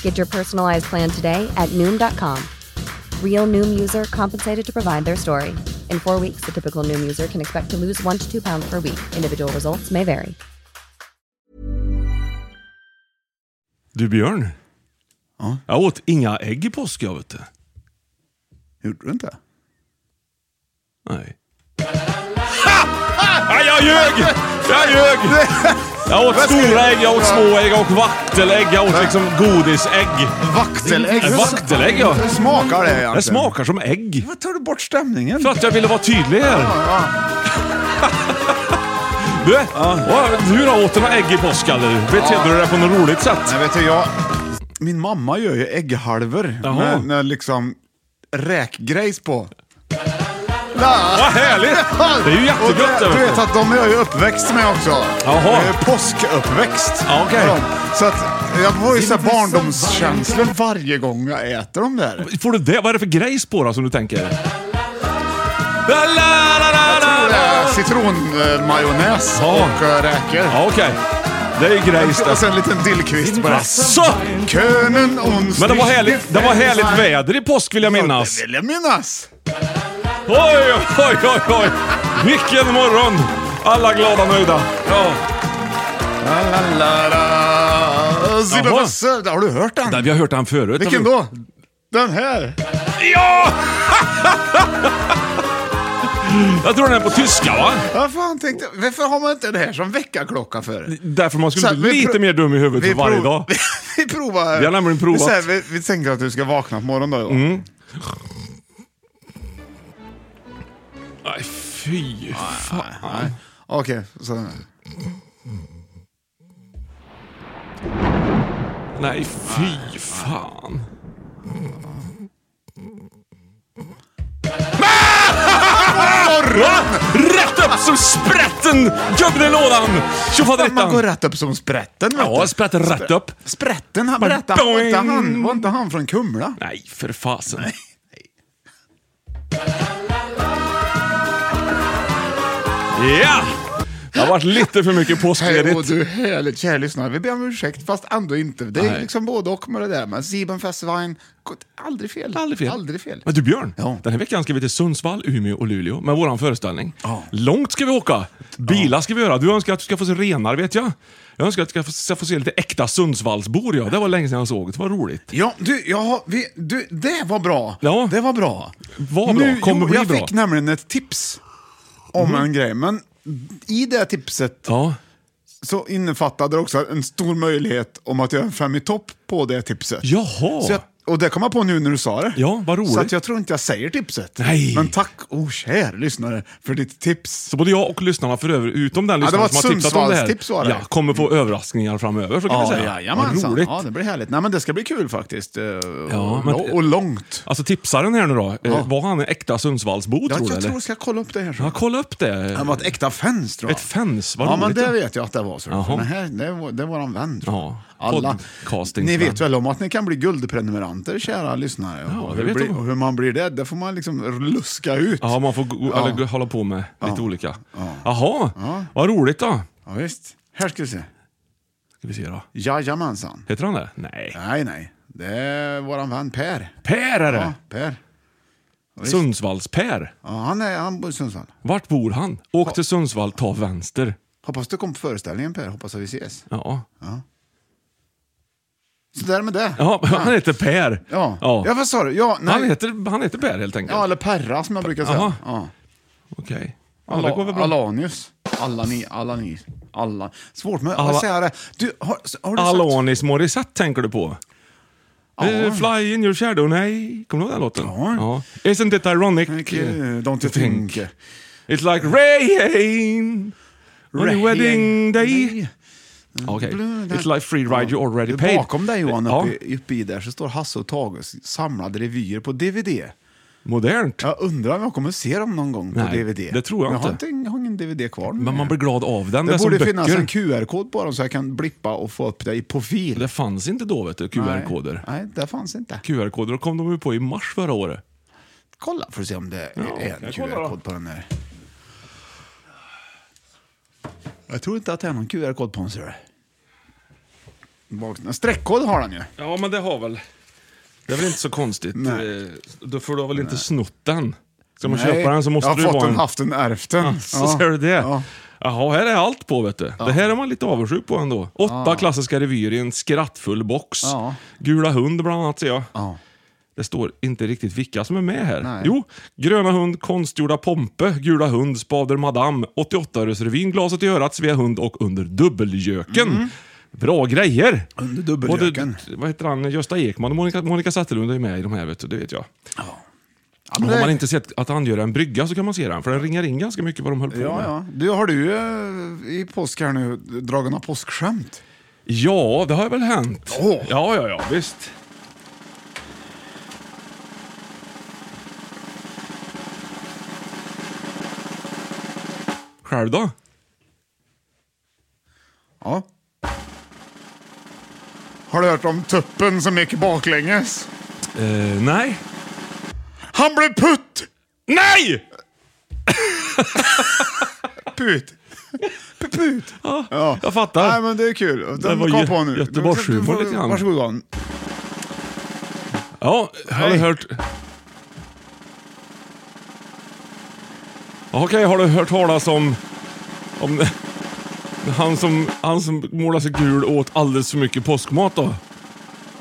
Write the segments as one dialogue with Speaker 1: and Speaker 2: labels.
Speaker 1: Get your personalized plan today at Noom.com. Real Noom user compensated to provide their story. In four weeks, the typical Noom user can expect to lose one to two pounds per week. Individual results may vary.
Speaker 2: Du Björn,
Speaker 3: Ja.
Speaker 2: jag åt inga ägg i påsk jag vet du.
Speaker 3: Gjorde du inte?
Speaker 2: Nej. Nej, jag ljög! Jag ljög! Jag åt stora ägg, jag åt små ägg, jag åt vaktelägg, jag åt liksom godisägg.
Speaker 3: Vaktelägg!
Speaker 2: Äh, vaktelägg, ja.
Speaker 3: Hur smakar det egentligen?
Speaker 2: Det smakar som ägg.
Speaker 3: Vad tar du bort stämningen?
Speaker 2: För att jag ville vara tydlig här. Du, vad- du då? Åt du några ägg i påsk eller? Betedde du dig på något roligt sätt?
Speaker 3: Nej, vet du, jag... Min mamma gör ju ägghalvor
Speaker 2: Jaha.
Speaker 3: med, med liksom räkgrejs på.
Speaker 2: Vad härligt! Det är ju
Speaker 3: Och
Speaker 2: jättegott.
Speaker 3: det,
Speaker 2: det,
Speaker 3: du
Speaker 2: vet
Speaker 3: vet
Speaker 2: du.
Speaker 3: att de är ju uppväxt med också.
Speaker 2: Jaha.
Speaker 3: Det är påskuppväxt.
Speaker 2: Ja, okej.
Speaker 3: med dem. Så att jag får ju så här barndomskänslor varje gång jag äter dem där.
Speaker 2: Får du det? Vad är det för grejs på då som du tänker? La, la, la, la, la,
Speaker 3: Det
Speaker 2: la.
Speaker 3: är Citronmajonnäs
Speaker 2: Ja.
Speaker 3: och eh, räkor.
Speaker 2: Ja, okej. Det är ju grejs
Speaker 3: Och
Speaker 2: det.
Speaker 3: sen en liten dillkvist bara.
Speaker 2: Asså!
Speaker 3: Könen ons.
Speaker 2: Men det var härligt, det var härligt väder i påsk vill jag minnas.
Speaker 3: Det vill jag minnas.
Speaker 2: Oj, oj, oj, oj! Vilken morgon! Alla glada och nöjda. Ja.
Speaker 3: La, la, la, la. Zibba
Speaker 2: Jaha.
Speaker 3: Basse. Har du hört den?
Speaker 2: Nej, Vi har hört den förut.
Speaker 3: Vilken då? Den här.
Speaker 2: Ja! Jag tror den är på tyska va?
Speaker 3: Vad fan tänkte jag? Varför har man inte det här som väckarklocka för?
Speaker 2: Därför man
Speaker 3: Så
Speaker 2: skulle
Speaker 3: här,
Speaker 2: bli
Speaker 3: vi
Speaker 2: lite
Speaker 3: pro-
Speaker 2: mer dum i huvudet
Speaker 3: vi
Speaker 2: för varje
Speaker 3: prov-
Speaker 2: dag.
Speaker 3: vi provar.
Speaker 2: Vi har nämligen provat. Mm.
Speaker 3: Vi, säger- vi, vi tänker att du ska vakna på morgonen då.
Speaker 2: Nej, fy fan.
Speaker 3: Nej. Okej, så.
Speaker 2: Nej, fy fan. Va? Rätt upp som sprätten, gubben i lådan!
Speaker 3: Man går
Speaker 2: Tjofaderittan!
Speaker 3: rätt upp som sprätten. vet
Speaker 2: Ja,
Speaker 3: du.
Speaker 2: sprätten rätt upp.
Speaker 3: Sprätten, han
Speaker 2: Bara
Speaker 3: berättade. Var inte
Speaker 2: boing.
Speaker 3: han, var inte han från Kumla?
Speaker 2: Nej, för fasen. Ja! Det har varit lite för mycket
Speaker 3: Hej, och
Speaker 2: påskledigt.
Speaker 3: du härligt kära lyssnare, vi ber om ursäkt fast ändå inte. Det är
Speaker 2: Nej.
Speaker 3: liksom både och med det där. Men Sieben Festwein, gott, aldrig fel.
Speaker 2: Aldrig fel.
Speaker 3: Aldrig fel.
Speaker 2: Men du Björn,
Speaker 3: Ja.
Speaker 2: den här veckan ska vi till Sundsvall, Umeå och Luleå med våran föreställning. Långt ska vi åka. Bilar ska vi göra. Du önskar att du ska få se renar vet jag. Jag önskar att du ska få, ska få se lite äkta Sundsvallsbor ja. Det var länge sedan jag såg. Det var roligt.
Speaker 3: Ja, du, ja, vi, du, det var bra.
Speaker 2: Ja.
Speaker 3: Det var bra.
Speaker 2: Var bra, kommer
Speaker 3: jo,
Speaker 2: bli
Speaker 3: jag
Speaker 2: bra. Mhm.
Speaker 3: fick nämligen ett tips om en grej, men i det tipset
Speaker 2: Ja.
Speaker 3: så innefattade det också en stor möjlighet om att göra en fem i topp på det tipset.
Speaker 2: Jaha.
Speaker 3: Så jag, och det kom jag på nu när du sa det.
Speaker 2: Ja, vad roligt.
Speaker 3: Så att jag tror inte jag säger tipset.
Speaker 2: Nej.
Speaker 3: Men tack, oh kär lyssnare, för ditt tips.
Speaker 2: Så både jag och lyssnarna för övrigt, utom den
Speaker 3: Ja, det
Speaker 2: lyssnaren
Speaker 3: var ett
Speaker 2: som har tipsat om det här,
Speaker 3: Sundsvallstips var det.
Speaker 2: Ja, kommer få överraskningar framöver. Så kan vi säga. Vad
Speaker 3: jajamensan.
Speaker 2: roligt.
Speaker 3: Ja, det blir härligt. Nej, men det ska bli kul faktiskt. Eh, och,
Speaker 2: men-
Speaker 3: och långt.
Speaker 2: Alltså tipsaren här nu då, eh, var han en äkta Sundsvallsbo
Speaker 3: Jag
Speaker 2: tror
Speaker 3: tror jag
Speaker 2: du? eller?
Speaker 3: tror jag ska kolla upp det här. sen.
Speaker 2: Ja, kolla upp det.
Speaker 3: Han var ett äkta fans tror jag.
Speaker 2: Ett fans, vad
Speaker 3: Ja, men
Speaker 2: roligt.
Speaker 3: det vet jag att det var. Så.
Speaker 2: Jaha.
Speaker 3: Den här, det, var, det var en vän tror jag.
Speaker 2: Ja.
Speaker 3: alla.
Speaker 2: Podcasting.
Speaker 3: Ni vet väl om att ni kan bli guldprenumeranter, kära lyssnare?
Speaker 2: Ja,
Speaker 3: Och
Speaker 2: det
Speaker 3: hur
Speaker 2: vet
Speaker 3: blir,
Speaker 2: de.
Speaker 3: och hur man blir det, det får man liksom luska ut.
Speaker 2: Ja, man får gå,
Speaker 3: Ja.
Speaker 2: Eller, gå- hålla på med lite olika.
Speaker 3: Ja.
Speaker 2: Jaha,
Speaker 3: Ja.
Speaker 2: vad roligt då.
Speaker 3: Ja, visst. Här ska vi se.
Speaker 2: Ska vi se då.
Speaker 3: Jajamensan.
Speaker 2: Heter han det? Nej.
Speaker 3: Nej, nej. Det är våran vän Per.
Speaker 2: Per är
Speaker 3: Ja,
Speaker 2: det!
Speaker 3: Per.
Speaker 2: Sundsvalls-Per.
Speaker 3: Ja, han, är, han bor i Sundsvall.
Speaker 2: Vart bor han? Åk till Sundsvall, ta vänster.
Speaker 3: Hoppas du kom på föreställningen Per, hoppas att vi ses.
Speaker 2: Ja.
Speaker 3: Så där med det.
Speaker 2: Ja, han heter Per.
Speaker 3: Ah. Ja. Ja. vad sa du? Ja, nej.
Speaker 2: Han, heter, han heter Per helt enkelt.
Speaker 3: ja, eller Perra som jag brukar säga.
Speaker 2: Jaha.
Speaker 3: Ja.
Speaker 2: Okej. Ja, det går
Speaker 3: Alla,
Speaker 2: väl bra.
Speaker 3: Alanius. Alla ni, alla ni. Alla. Svårt med
Speaker 2: Alla-
Speaker 3: att säga det. Du, har, har du sagt?
Speaker 2: Alanis Morissette tänker du på?
Speaker 3: Ja.
Speaker 2: Eh, Fly in your shadow, nej. Kommer du ihåg den låten?
Speaker 3: Ja.
Speaker 2: Isn't it ironic?
Speaker 3: Mycket, Don't you think?
Speaker 2: It's like rain on your wedding day. Okej. It's like free ride you already paid.
Speaker 3: Bakom dig Johan,
Speaker 2: Ja,
Speaker 3: uppe, uppe i där, så står Hasse och Tages samlade revyer på DVD.
Speaker 2: modernt.
Speaker 3: Jag undrar om jag kommer se dem någon gång på
Speaker 2: Nej,
Speaker 3: DVD.
Speaker 2: det tror jag
Speaker 3: jag
Speaker 2: inte.
Speaker 3: Har inte. Jag har ingen DVD kvar. nu.
Speaker 2: Men man blir glad av den.
Speaker 3: det
Speaker 2: är som
Speaker 3: borde finnas
Speaker 2: böcker.
Speaker 3: en QR-kod på dem så jag kan blippa och få upp det i profil.
Speaker 2: Det fanns inte då, vet du, QR-koder.
Speaker 3: Nej, nej, det fanns inte.
Speaker 2: QR-koder kom de ju på i mars förra året.
Speaker 3: Kolla för att se om det är en
Speaker 2: jag kollar då.
Speaker 3: QR-kod på den här. Jag tror inte att det är någon QR-kod på den. ser du. Bak- Streckkod har den ju.
Speaker 2: Ja, men det har väl... Det är väl inte så konstigt.
Speaker 3: Nej.
Speaker 2: Eh, Då får du väl inte snott den? Ska man
Speaker 3: Nej,
Speaker 2: köpa den så måste
Speaker 3: jag
Speaker 2: du
Speaker 3: har fått
Speaker 2: vara
Speaker 3: den,
Speaker 2: en...
Speaker 3: haft den, ärvt den.
Speaker 2: Så ser du det.
Speaker 3: Ja.
Speaker 2: Jaha, här är allt på vet du. Det här är man lite avundsjuk på ändå. Åtta klassiska revyer i en skrattfull box.
Speaker 3: Ja.
Speaker 2: Gula hund bland annat ser jag.
Speaker 3: Ja.
Speaker 2: Det står inte riktigt vilka som är med här.
Speaker 3: Nej.
Speaker 2: Jo, Gröna hund, Konstgjorda Pompe, Gula hund, Spader Madame, 88-öresrevyn, Glaset i örat, Svea hund och Under dubbeljöken.
Speaker 3: Mm.
Speaker 2: Bra grejer!
Speaker 3: Under dubbeljöken.
Speaker 2: Både, vad heter han, Gösta Ekman och Monica, Monica Zetterlund är med i de här, vet du, det vet jag.
Speaker 3: Ja,
Speaker 2: Men
Speaker 3: men
Speaker 2: har
Speaker 3: det-
Speaker 2: man inte sett att han gör en brygga så kan man se den, för den ringar in ganska mycket vad de höll på
Speaker 3: Ja,
Speaker 2: med.
Speaker 3: ja. Du, har du eh, i påsk här nu dragit några påskskämt?
Speaker 2: Ja, det har väl hänt.
Speaker 3: Åh.
Speaker 2: Ja, ja, ja, visst. Själv då?
Speaker 3: Ja. Har du hört om tuppen som gick baklänges?
Speaker 2: Eh, nej.
Speaker 3: Han blev putt!
Speaker 2: Nej!
Speaker 3: Put! Put! Ja.
Speaker 2: Jag fattar.
Speaker 3: Nej men det är kul.
Speaker 2: Det
Speaker 3: Den
Speaker 2: var
Speaker 3: kom
Speaker 2: Gö-
Speaker 3: på nu.
Speaker 2: Göteborgshumor
Speaker 3: Du får-
Speaker 2: lite grann.
Speaker 3: Varsågod Johan.
Speaker 2: Ja, har du
Speaker 3: Nej.
Speaker 2: hört... Okej, har du hört talas om... Om han som, han som målade sig gul och åt alldeles för mycket påskmat då?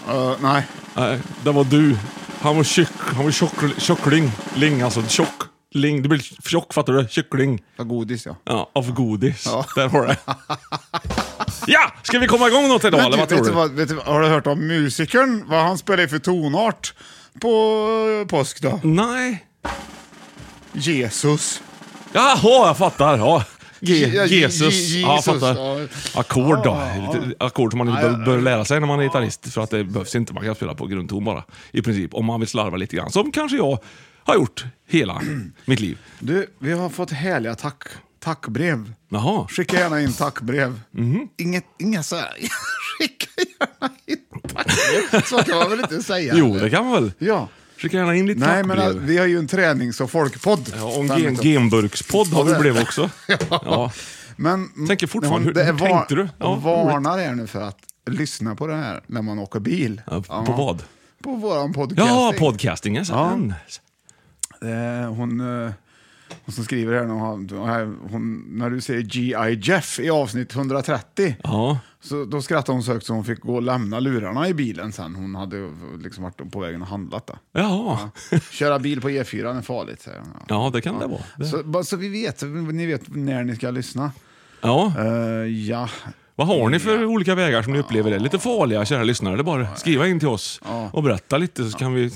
Speaker 3: Eh, nej.
Speaker 2: Nej, det var du. Han var tjock, han var tjock, tjockling. Ling alltså, tjock. Ling, du blir tjock fattar du? Kyckling.
Speaker 3: Ja, godis ja.
Speaker 2: Ja, av godis. Där har du det. Ja! Ska vi komma igång något idag
Speaker 3: Men
Speaker 2: eller
Speaker 3: du,
Speaker 2: vad tror
Speaker 3: vet
Speaker 2: du?
Speaker 3: du vad, vet du, vad- har du hört om musikern? Vad han spelar för tonart på eh, påsk då?
Speaker 2: Nej.
Speaker 3: Jesus.
Speaker 2: Jaha, jag fattar. Ja. Ge-
Speaker 3: Ja, Je-
Speaker 2: Jesus.
Speaker 3: Je-
Speaker 2: Ja, jag fattar.
Speaker 3: Jesus, ja.
Speaker 2: Ackord då.
Speaker 3: Ja, ja.
Speaker 2: Lite Ackord som man inte bör, bör lära sig när man är gitarrist. För att det behövs inte. Man kan spela på grundton bara. I princip. Om man vill slarva lite grann. Som kanske jag har gjort hela mitt liv.
Speaker 3: Du, vi har fått härliga tack, tackbrev.
Speaker 2: Jaha.
Speaker 3: Skicka gärna in tackbrev.
Speaker 2: Mhm.
Speaker 3: Inget, inga så här. Skicka gärna in tackbrev. Så kan man väl inte säga?
Speaker 2: Jo, det kan man väl.
Speaker 3: Ja.
Speaker 2: Skicka gärna in lite
Speaker 3: Nej, men
Speaker 2: tackbrev.
Speaker 3: äh, vi har ju en tränings och folkpodd.
Speaker 2: Ja, och en
Speaker 3: Fem
Speaker 2: gen,
Speaker 3: minuter.
Speaker 2: genburkspodd har vi
Speaker 3: det-
Speaker 2: blivit också. ja.
Speaker 3: Men
Speaker 2: Tänker fortfarande, hur-
Speaker 3: det är
Speaker 2: hur tänkte du? Ja,
Speaker 3: de varnar er nu för att lyssna på det här när man åker bil.
Speaker 2: Ja, på vad?
Speaker 3: På våran podcasting.
Speaker 2: ja, podcasting. Alltså.
Speaker 3: Ja.
Speaker 2: Den.
Speaker 3: Eh, hon, eh, hon som skriver här, hon, har- hon, när du säger G.I. Jeff i avsnitt 130,
Speaker 2: Ja.
Speaker 3: så, då skrattade hon så högt så hon fick gå och lämna lurarna i bilen sen. Hon hade liksom varit på vägen och handlat. Då.
Speaker 2: Ja.
Speaker 3: Köra bil på E4 är farligt, säger hon. Ja.
Speaker 2: ja, det kan det vara. Det.
Speaker 3: Så, bara så vi vet, så ni vet när ni ska lyssna.
Speaker 2: Ja.
Speaker 3: Eh, ja,
Speaker 2: Vad har ni för olika vägar som ni upplever är lite farliga, kära lyssnare? Det är bara att skriva in till oss och berätta lite så kan vi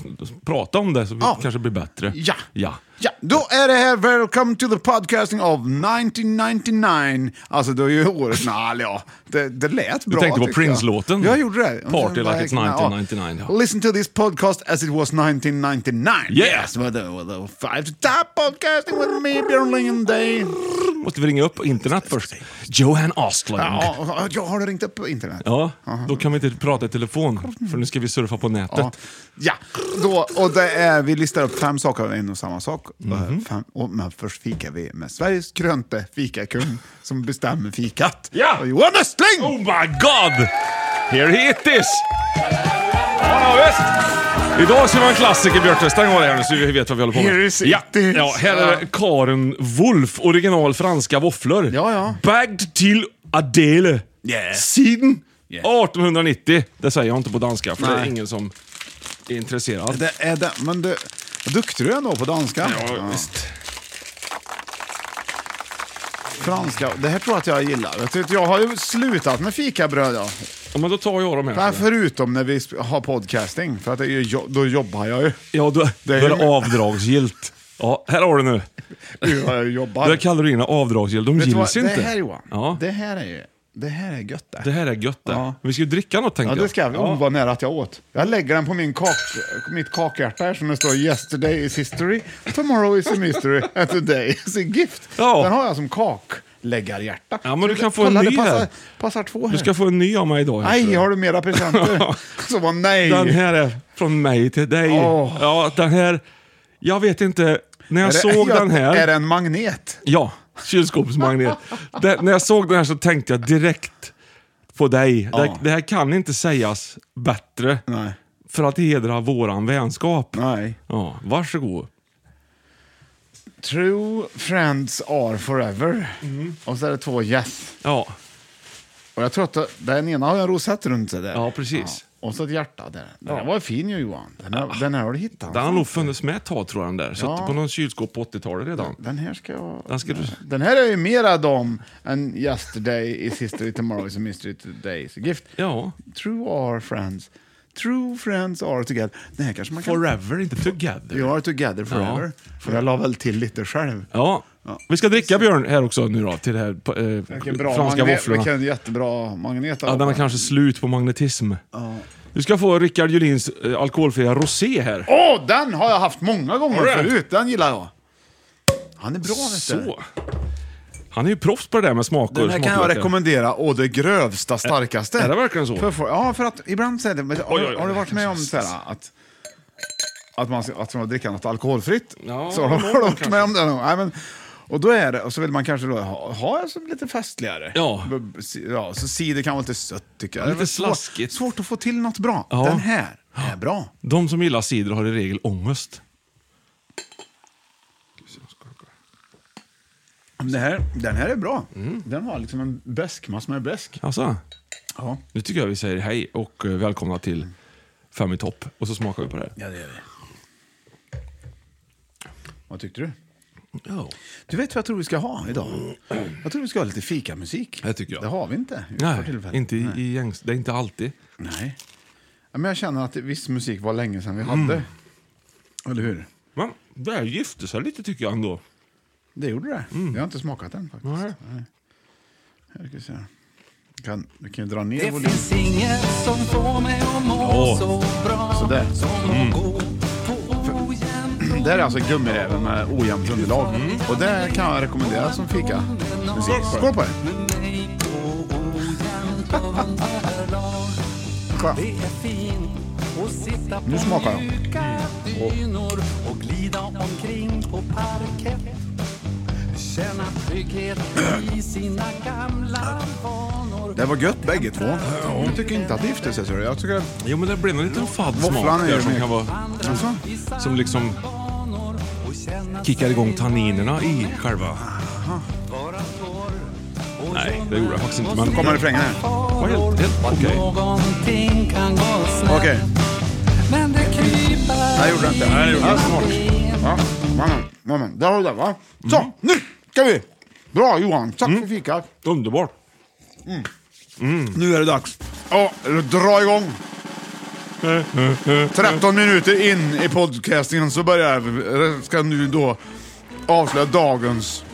Speaker 2: prata om det så vi
Speaker 3: Ja.
Speaker 2: kanske blir bättre.
Speaker 3: Ja.
Speaker 2: ja.
Speaker 3: Ja, då är det här Welcome to the podcasting of 1999. Alltså det är ju året... Nej, ja. Det, det lät bra.
Speaker 2: tänkte på
Speaker 3: tycker jag.
Speaker 2: Prince-låten.
Speaker 3: Jag gjorde det.
Speaker 2: Party like it's 1999, ja.
Speaker 3: Listen to this podcast as it was 1999.
Speaker 2: Yeah.
Speaker 3: Yes, with the, with the five to top podcasting with me, Björn Lingendey.
Speaker 2: Måste vi ringa upp internet först? Johan Astlund.
Speaker 3: Ja,
Speaker 2: Ja.
Speaker 3: ja, ja, har du ringt upp på internet?
Speaker 2: då kan vi inte prata i telefon, för nu ska vi surfa på nätet.
Speaker 3: Ja, ja. Då, och det är, vi listar upp fem saker av en och samma sak. Eh,
Speaker 2: Mhm.
Speaker 3: Fem, och, men först fikar vi med Sveriges krönte fikakung som bestämmer fikat.
Speaker 2: Ja!
Speaker 3: Och Johan Östling!
Speaker 2: Oh my god! Here it is! Ja, ja, visst. Idag ska vi ha en klassiker, Björte. Stäng av det här nu så vi vet vad vi håller på med.
Speaker 3: Here is it
Speaker 2: ja.
Speaker 3: is.
Speaker 2: ja, här är det Karen Wolf, original franska våfflor.
Speaker 3: Ja, ja.
Speaker 2: Bagged till Adele.
Speaker 3: Yeah.
Speaker 2: Siden 1890. Det säger jag inte på danska, för det är
Speaker 3: Nej.
Speaker 2: ingen som är intresserad.
Speaker 3: Det är det, men du, vad duktig du är ändå på danska.
Speaker 2: Ja, visst.
Speaker 3: Franska, det här tror jag att jag gillar. Vet du, Jag har ju slutat med fikabröd. Ja.
Speaker 2: Ja, men då tar jag de här.
Speaker 3: Men Förutom när vi sp- har podcasting, för att det är, ju jo- då jobbar jag ju.
Speaker 2: Ja, då,
Speaker 3: Det är
Speaker 2: då är
Speaker 3: ju-
Speaker 2: det avdragsgillt. Ja, här har du nu.
Speaker 3: Gud vad jag
Speaker 2: Det
Speaker 3: jobbar.
Speaker 2: här kallar du in avdragsgillt. De
Speaker 3: Vet du vad,
Speaker 2: gills
Speaker 3: det
Speaker 2: inte.
Speaker 3: här Johan,
Speaker 2: Ja.
Speaker 3: det här är ju, det här är gött det.
Speaker 2: Det här är gött det.
Speaker 3: Ja.
Speaker 2: Men Vi ska ju dricka något tänkte
Speaker 3: Ja,
Speaker 2: jag.
Speaker 3: det ska vi. Oh, vad nära att jag åt. Jag lägger den på min kak, mitt kakhjärta här som det står “Yesterday is history, tomorrow is a mystery, and today is a gift”.
Speaker 2: Ja.
Speaker 3: Den har jag som kakläggarhjärta.
Speaker 2: Ja, men du
Speaker 3: Så
Speaker 2: kan
Speaker 3: det-
Speaker 2: få en
Speaker 3: kolla,
Speaker 2: ny
Speaker 3: det passar,
Speaker 2: här.
Speaker 3: passar två här.
Speaker 2: Du ska få en ny av mig idag.
Speaker 3: Nej,
Speaker 2: Hector.
Speaker 3: har du mera presenter? Så var nej.
Speaker 2: Den här är från mig till dig.
Speaker 3: Åh.
Speaker 2: Ja, den här... Jag vet inte. När jag
Speaker 3: Är det- jag-
Speaker 2: såg den här...
Speaker 3: Är det en magnet?
Speaker 2: Ja, kylskåpsmagnet. det, när jag såg den här så tänkte jag direkt på dig. Det, det här kan inte sägas bättre.
Speaker 3: Nej.
Speaker 2: För att hedra våran vänskap.
Speaker 3: Nej.
Speaker 2: Ja, varsågod.
Speaker 3: True friends are forever.
Speaker 2: Mm.
Speaker 3: Och så är det två yes.
Speaker 2: Ja,
Speaker 3: Och jag tror att det- den ena har en rosett runt sig där.
Speaker 2: ja precis. Ah.
Speaker 3: Ja, Och så ett hjärta där. Den här var fin ju Johan. Den här, den här har du hittat.
Speaker 2: Den har nog funnits med ett tag tror jag den där. Så
Speaker 3: Ja.
Speaker 2: att på någon kylskåp på 80-talet redan.
Speaker 3: Den här ska jag...
Speaker 2: Den ska du...
Speaker 3: Den här är ju mera dom än yesterday is history, tomorrow is a mystery, today is a gift.
Speaker 2: Ja.
Speaker 3: True are friends. True friends are together. Den här kanske man kan...
Speaker 2: Forever, inte together.
Speaker 3: We are together forever. För jag la väl till lite själv.
Speaker 2: Ja. Vi ska dricka Björn här också nu då, till det här
Speaker 3: Vilken
Speaker 2: eh,
Speaker 3: bra
Speaker 2: franska
Speaker 3: magnet.
Speaker 2: våfflorna.
Speaker 3: Vilken jättebra magnet.
Speaker 2: Ja, den är kanske slut på magnetism. Du ska få Rickard Julins eh, alkoholfria rosé här.
Speaker 3: Åh, den har jag haft många gånger
Speaker 2: Har du det?
Speaker 3: förut. Den gillar jag. Han är bra vet du.
Speaker 2: Så. Han är ju proffs på det där med smaker.
Speaker 3: Den här kan jag
Speaker 2: smaklökar.
Speaker 3: rekommendera å det grövsta, starkaste.
Speaker 2: är det verkligen så?
Speaker 3: För, för, ja, för att ibland så är det... Men, har,
Speaker 2: Oj, oj, oj.
Speaker 3: har du varit med om så här, att, att, man, ska- att man dricker något alkoholfritt?
Speaker 2: Ja,
Speaker 3: så har,
Speaker 2: någon
Speaker 3: du- har du varit
Speaker 2: kanske.
Speaker 3: med om det någon gång? Nej, men, och då är det, och så vill man kanske då ha, ha det som lite festligare.
Speaker 2: Ja.
Speaker 3: B- b- si- ja så cider kan vara lite sött tycker jag.
Speaker 2: Lite
Speaker 3: Det är svår-
Speaker 2: slaskigt.
Speaker 3: Svårt att få till något bra.
Speaker 2: Ja.
Speaker 3: Den här är bra.
Speaker 2: De som gillar cider har i regel ångest.
Speaker 3: Den här, den här är bra.
Speaker 2: Mm.
Speaker 3: Den har liksom en bäskma som är bäsk.
Speaker 2: Alltså,
Speaker 3: Ja.
Speaker 2: nu tycker jag vi säger hej och eh, välkomna till Fem i topp. Och så smakar vi på det. här.
Speaker 3: ja, det är det. Vad tyckte du?
Speaker 2: Ja.
Speaker 3: Du vet vad jag tror vi ska ha idag? Jag tror vi ska ha lite fikamusik.
Speaker 2: Det tycker jag.
Speaker 3: Det har vi inte för
Speaker 2: Nej,
Speaker 3: tillfället.
Speaker 2: inte i,
Speaker 3: Nej.
Speaker 2: i gängs... Det är inte alltid.
Speaker 3: Nej. Ja, Men jag känner att viss musik var länge sedan
Speaker 2: Mm.
Speaker 3: vi hade. Eller hur?
Speaker 2: Men det här gifte sig lite tycker jag ändå.
Speaker 3: Det gjorde det. Jag har inte smakat den faktiskt.
Speaker 2: Mm. Nej.
Speaker 3: Här ska vi se. Du kan, du kan ju dra ner
Speaker 4: Det
Speaker 3: volymen.
Speaker 4: finns inget som får mig att må
Speaker 2: Åh.
Speaker 3: Alltså,
Speaker 4: så bra
Speaker 3: Sådär.
Speaker 4: som att gå på ojämn
Speaker 3: Det här är alltså gummiräven med ojämnt underlag.
Speaker 2: Mm.
Speaker 3: Och det kan jag rekommendera som fika. musik. Skål på det!
Speaker 4: med mig på ojämnt underlag
Speaker 3: Skål.
Speaker 4: Det är fint att sitta på
Speaker 3: Nu smakar jag.
Speaker 4: mjuka dynor och glida omkring på parkett Känna trygghet i sina gamla vanor
Speaker 3: Det var gött bägge två. Jag tycker inte att det gifte sig. ser du. Jag tycker att
Speaker 2: Jo men det blev en liten fadd
Speaker 3: Våfflan
Speaker 2: smak
Speaker 3: är
Speaker 2: där
Speaker 3: ju
Speaker 2: som
Speaker 3: med.
Speaker 2: kan vara...
Speaker 3: Alltså,
Speaker 2: Som liksom kickar igång tanninerna i själva... Nej, det gjorde jag faktiskt inte. Men
Speaker 3: kommer refrängen här.
Speaker 2: var helt, helt okej.
Speaker 4: Någonting kan gå snett
Speaker 3: Okej.
Speaker 4: Men det kryper
Speaker 3: Nej, gjorde jag inte.
Speaker 2: Nej, det gjorde jag inte. Mm.
Speaker 3: Smart. Ja, mannen, mannen. Där har du det, va? Så, nu ska vi! Bra Johan, tack för fikat.
Speaker 2: Underbart.
Speaker 3: Nu är det dags. Ja, dra igång. 13 minuter in i podcastingen så börjar jag, ska nu då avslöja dagens...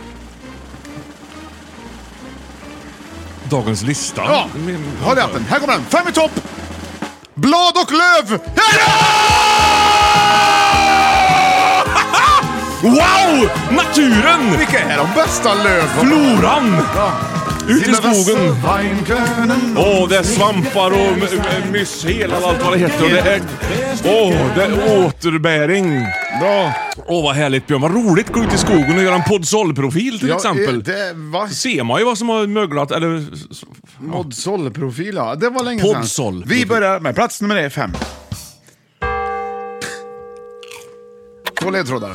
Speaker 2: Dagens lista.
Speaker 3: Ja,
Speaker 2: Min-
Speaker 3: har jag haft den. Här kommer den. Fem i topp! Blad och löv! Hurra!
Speaker 2: Wow! Naturen!
Speaker 3: Vilka är de bästa löven?
Speaker 2: Floran! Ut i skogen.
Speaker 3: Weinkönen.
Speaker 2: Åh, det är svampar och m- m- mycel och allt vad det heter. Och det är, åh, det är återbäring.
Speaker 3: Bra.
Speaker 2: Åh, vad härligt Björn. Vad roligt att gå ut i skogen och göra en poddsolprofil till
Speaker 3: Ja,
Speaker 2: exempel.
Speaker 3: eh, Det var
Speaker 2: Då ser man ju vad som har möglat eller... s-
Speaker 3: Podsoll-profil, ja. Det var länge sedan.
Speaker 2: Podsoll.
Speaker 3: Vi börjar med plats nummer ett, fem. Två ledtrådar.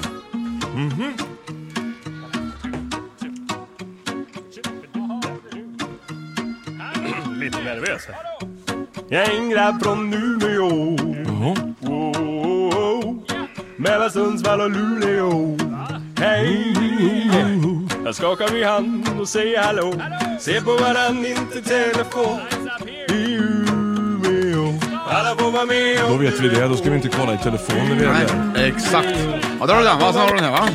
Speaker 5: Lite nervös här. Jag är en grabb från Umeå.
Speaker 2: Jaha.
Speaker 5: Oh, oh, oh. Mellan Sundsvall och Luleå. Hej! Jag skakar min hand och säger hallå. Se på varann, inte telefon. I Umeå. Alla får vara med
Speaker 2: Då
Speaker 5: och
Speaker 2: vet vi det. Då ska vi inte kolla i telefonen. när vi är där.
Speaker 3: Exakt. Ja, där har du den. va? Sen har du den här, va?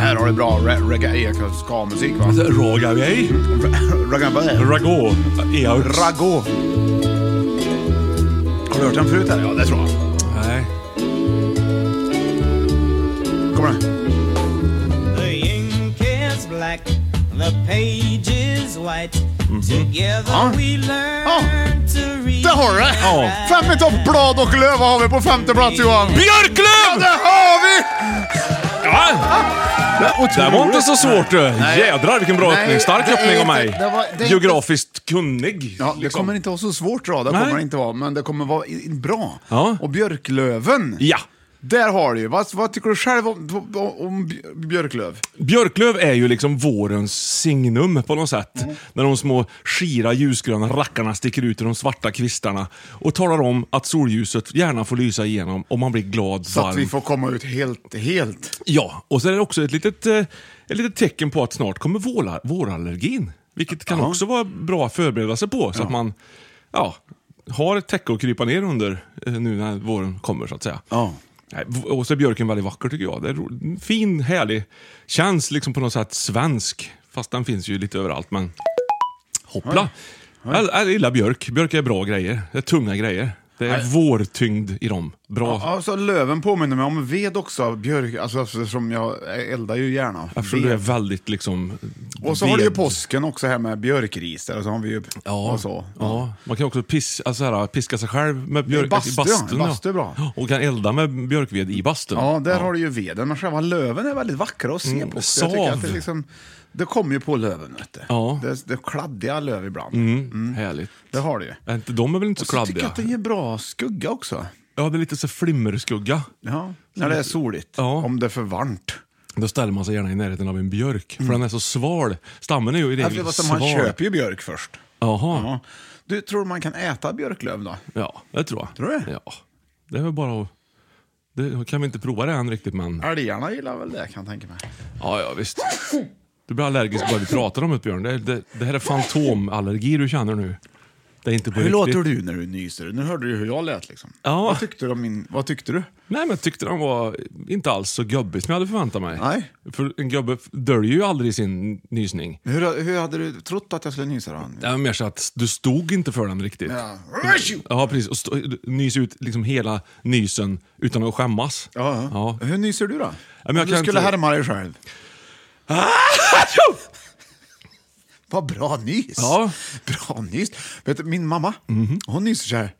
Speaker 3: Här har du bra re- reggae ska-musik, va?
Speaker 2: Alltså, Ragavej.
Speaker 3: Ragga-
Speaker 2: Ragå. Eaux.
Speaker 3: Rago. Har du hört den förut? Här? Ja, det tror jag.
Speaker 2: Nej.
Speaker 3: Kommer den?
Speaker 6: The ink is black, the page is white. Together
Speaker 3: Mhm. Ja.
Speaker 6: we learn
Speaker 3: Ja.
Speaker 6: to read.
Speaker 3: Där har du det!
Speaker 2: Ja.
Speaker 3: Fem i topp, blad och löv. Vad har vi på femte plats, Johan? Ja, det
Speaker 2: Björklöv!
Speaker 3: har vi!
Speaker 2: Ja. Det var inte så svårt du. Jädrar vilken bra
Speaker 3: Nej,
Speaker 2: öppning. Stark
Speaker 3: det är
Speaker 2: öppning av
Speaker 3: inte-
Speaker 2: mig.
Speaker 3: det var- det är
Speaker 2: Geografiskt kunnig.
Speaker 3: Ja, det
Speaker 2: liksom.
Speaker 3: kommer inte vara så svårt då. Det
Speaker 2: Nej.
Speaker 3: kommer det inte vara, men det kommer vara i- bra.
Speaker 2: Ja.
Speaker 3: Och Björklöven.
Speaker 2: Ja.
Speaker 3: Där har du ju. Vad, vad tycker du själv om, om, om Bj- Björklöv?
Speaker 2: Björklöv är ju liksom vårens signum på något sätt.
Speaker 3: Mm.
Speaker 2: När de små skira ljusgröna rackarna sticker ut ur de svarta kvistarna och talar om att solljuset gärna får lysa igenom och man blir glad,
Speaker 3: Så att
Speaker 2: varm.
Speaker 3: vi får komma ut helt, helt.
Speaker 2: Ja, och så är det också ett litet, eh, ett litet tecken på att snart kommer våla- vårallergin. Vilket kan också vara bra att förbereda sig på så att man ja, har ett täcke att krypa ner under eh, nu när våren kommer så att säga.
Speaker 3: Ja.
Speaker 2: Nej, v- Och så är björken väldigt vacker tycker jag. Det är ro- en fin, härlig, känns liksom på något sätt svensk. Fast den finns ju lite överallt men hoppla. Jag, jag gillar björk. Björk är bra grejer. Det är tunga grejer. Det är vårtyngd i dem. Bra.
Speaker 3: Alltså, löven påminner mig om ved också. Björk, alltså, eftersom jag eldar ju gärna.
Speaker 2: Eftersom
Speaker 3: ved.
Speaker 2: du är väldigt liksom...
Speaker 3: Och så har du ju
Speaker 2: ved-
Speaker 3: påsken också här med björkris. Där, och så har vi ju,
Speaker 2: Ja,
Speaker 3: och så.
Speaker 2: ja. man kan också pis, alltså här, piska sig själv med björk,
Speaker 3: bastu,
Speaker 2: i
Speaker 3: ja.
Speaker 2: bastun.
Speaker 3: Bastu är bra.
Speaker 2: Och kan elda med björkved i bastun.
Speaker 3: Ja, där har du ju veden. Men själva löven är väldigt vackra att se
Speaker 2: Mm,
Speaker 3: på. Så Jag tycker att det,
Speaker 2: sav.
Speaker 3: liksom, det kommer ju på löven. Vet du.
Speaker 2: Ja.
Speaker 3: Det, det är kladdiga löv ibland.
Speaker 2: Mm. Härligt.
Speaker 3: Det har du ju.
Speaker 2: Är inte- De är väl inte så
Speaker 3: Mm. Så tycker jag
Speaker 2: kladdiga?
Speaker 3: att den ger bra skugga också.
Speaker 2: Ja, det är lite så flimmerskugga.
Speaker 3: Ja, när det är soligt.
Speaker 2: Ja.
Speaker 3: Om det är för varmt.
Speaker 2: Då ställer man sig gärna i närheten av en björk,
Speaker 3: Mm.
Speaker 2: för den är så sval. Stammen är ju i
Speaker 3: Jag
Speaker 2: regel
Speaker 3: vet att
Speaker 2: sval.
Speaker 3: man Mm. köper ju björk först.
Speaker 2: Jaha.
Speaker 3: Ja. Du, tror du man kan äta björklöv då?
Speaker 2: Ja, det tror jag.
Speaker 3: Tror du det?
Speaker 2: Ja. Det är väl bara att... Det kan vi inte prova det än riktigt, men...
Speaker 3: Älgarna gillar väl det kan jag tänka mig.
Speaker 2: Ja, ja, visst. Du blir allergisk bara vi pratar om det, Björn. Det, det, det här är fantomallergi du känner nu. Det är inte på
Speaker 3: Hur
Speaker 2: riktigt.
Speaker 3: låter du när du nyser? Nu hörde du hur jag lät liksom.
Speaker 2: Ja.
Speaker 3: Vad tyckte du om min... Vad tyckte du?
Speaker 2: Nej, men jag tyckte den var inte alls så gubbig som jag hade förväntat mig.
Speaker 3: Nej.
Speaker 2: För en gubbe döljer ju aldrig sin nysning.
Speaker 3: Hur, hur hade du trott att jag skulle nysa då?
Speaker 2: Det var mer så att du stod inte för den riktigt.
Speaker 3: Ja.
Speaker 2: Ja, precis. Och stå, nys ut liksom hela nysen utan att skämmas.
Speaker 3: Ja.
Speaker 2: Ja.
Speaker 3: Hur nyser du då?
Speaker 2: men jag
Speaker 3: Om du
Speaker 2: kan
Speaker 3: skulle
Speaker 2: inte-
Speaker 3: härma dig själv. Vad bra nys!
Speaker 2: Ja. Mhm.
Speaker 3: Bra nys. Vet du, min mamma, hon nyser så här.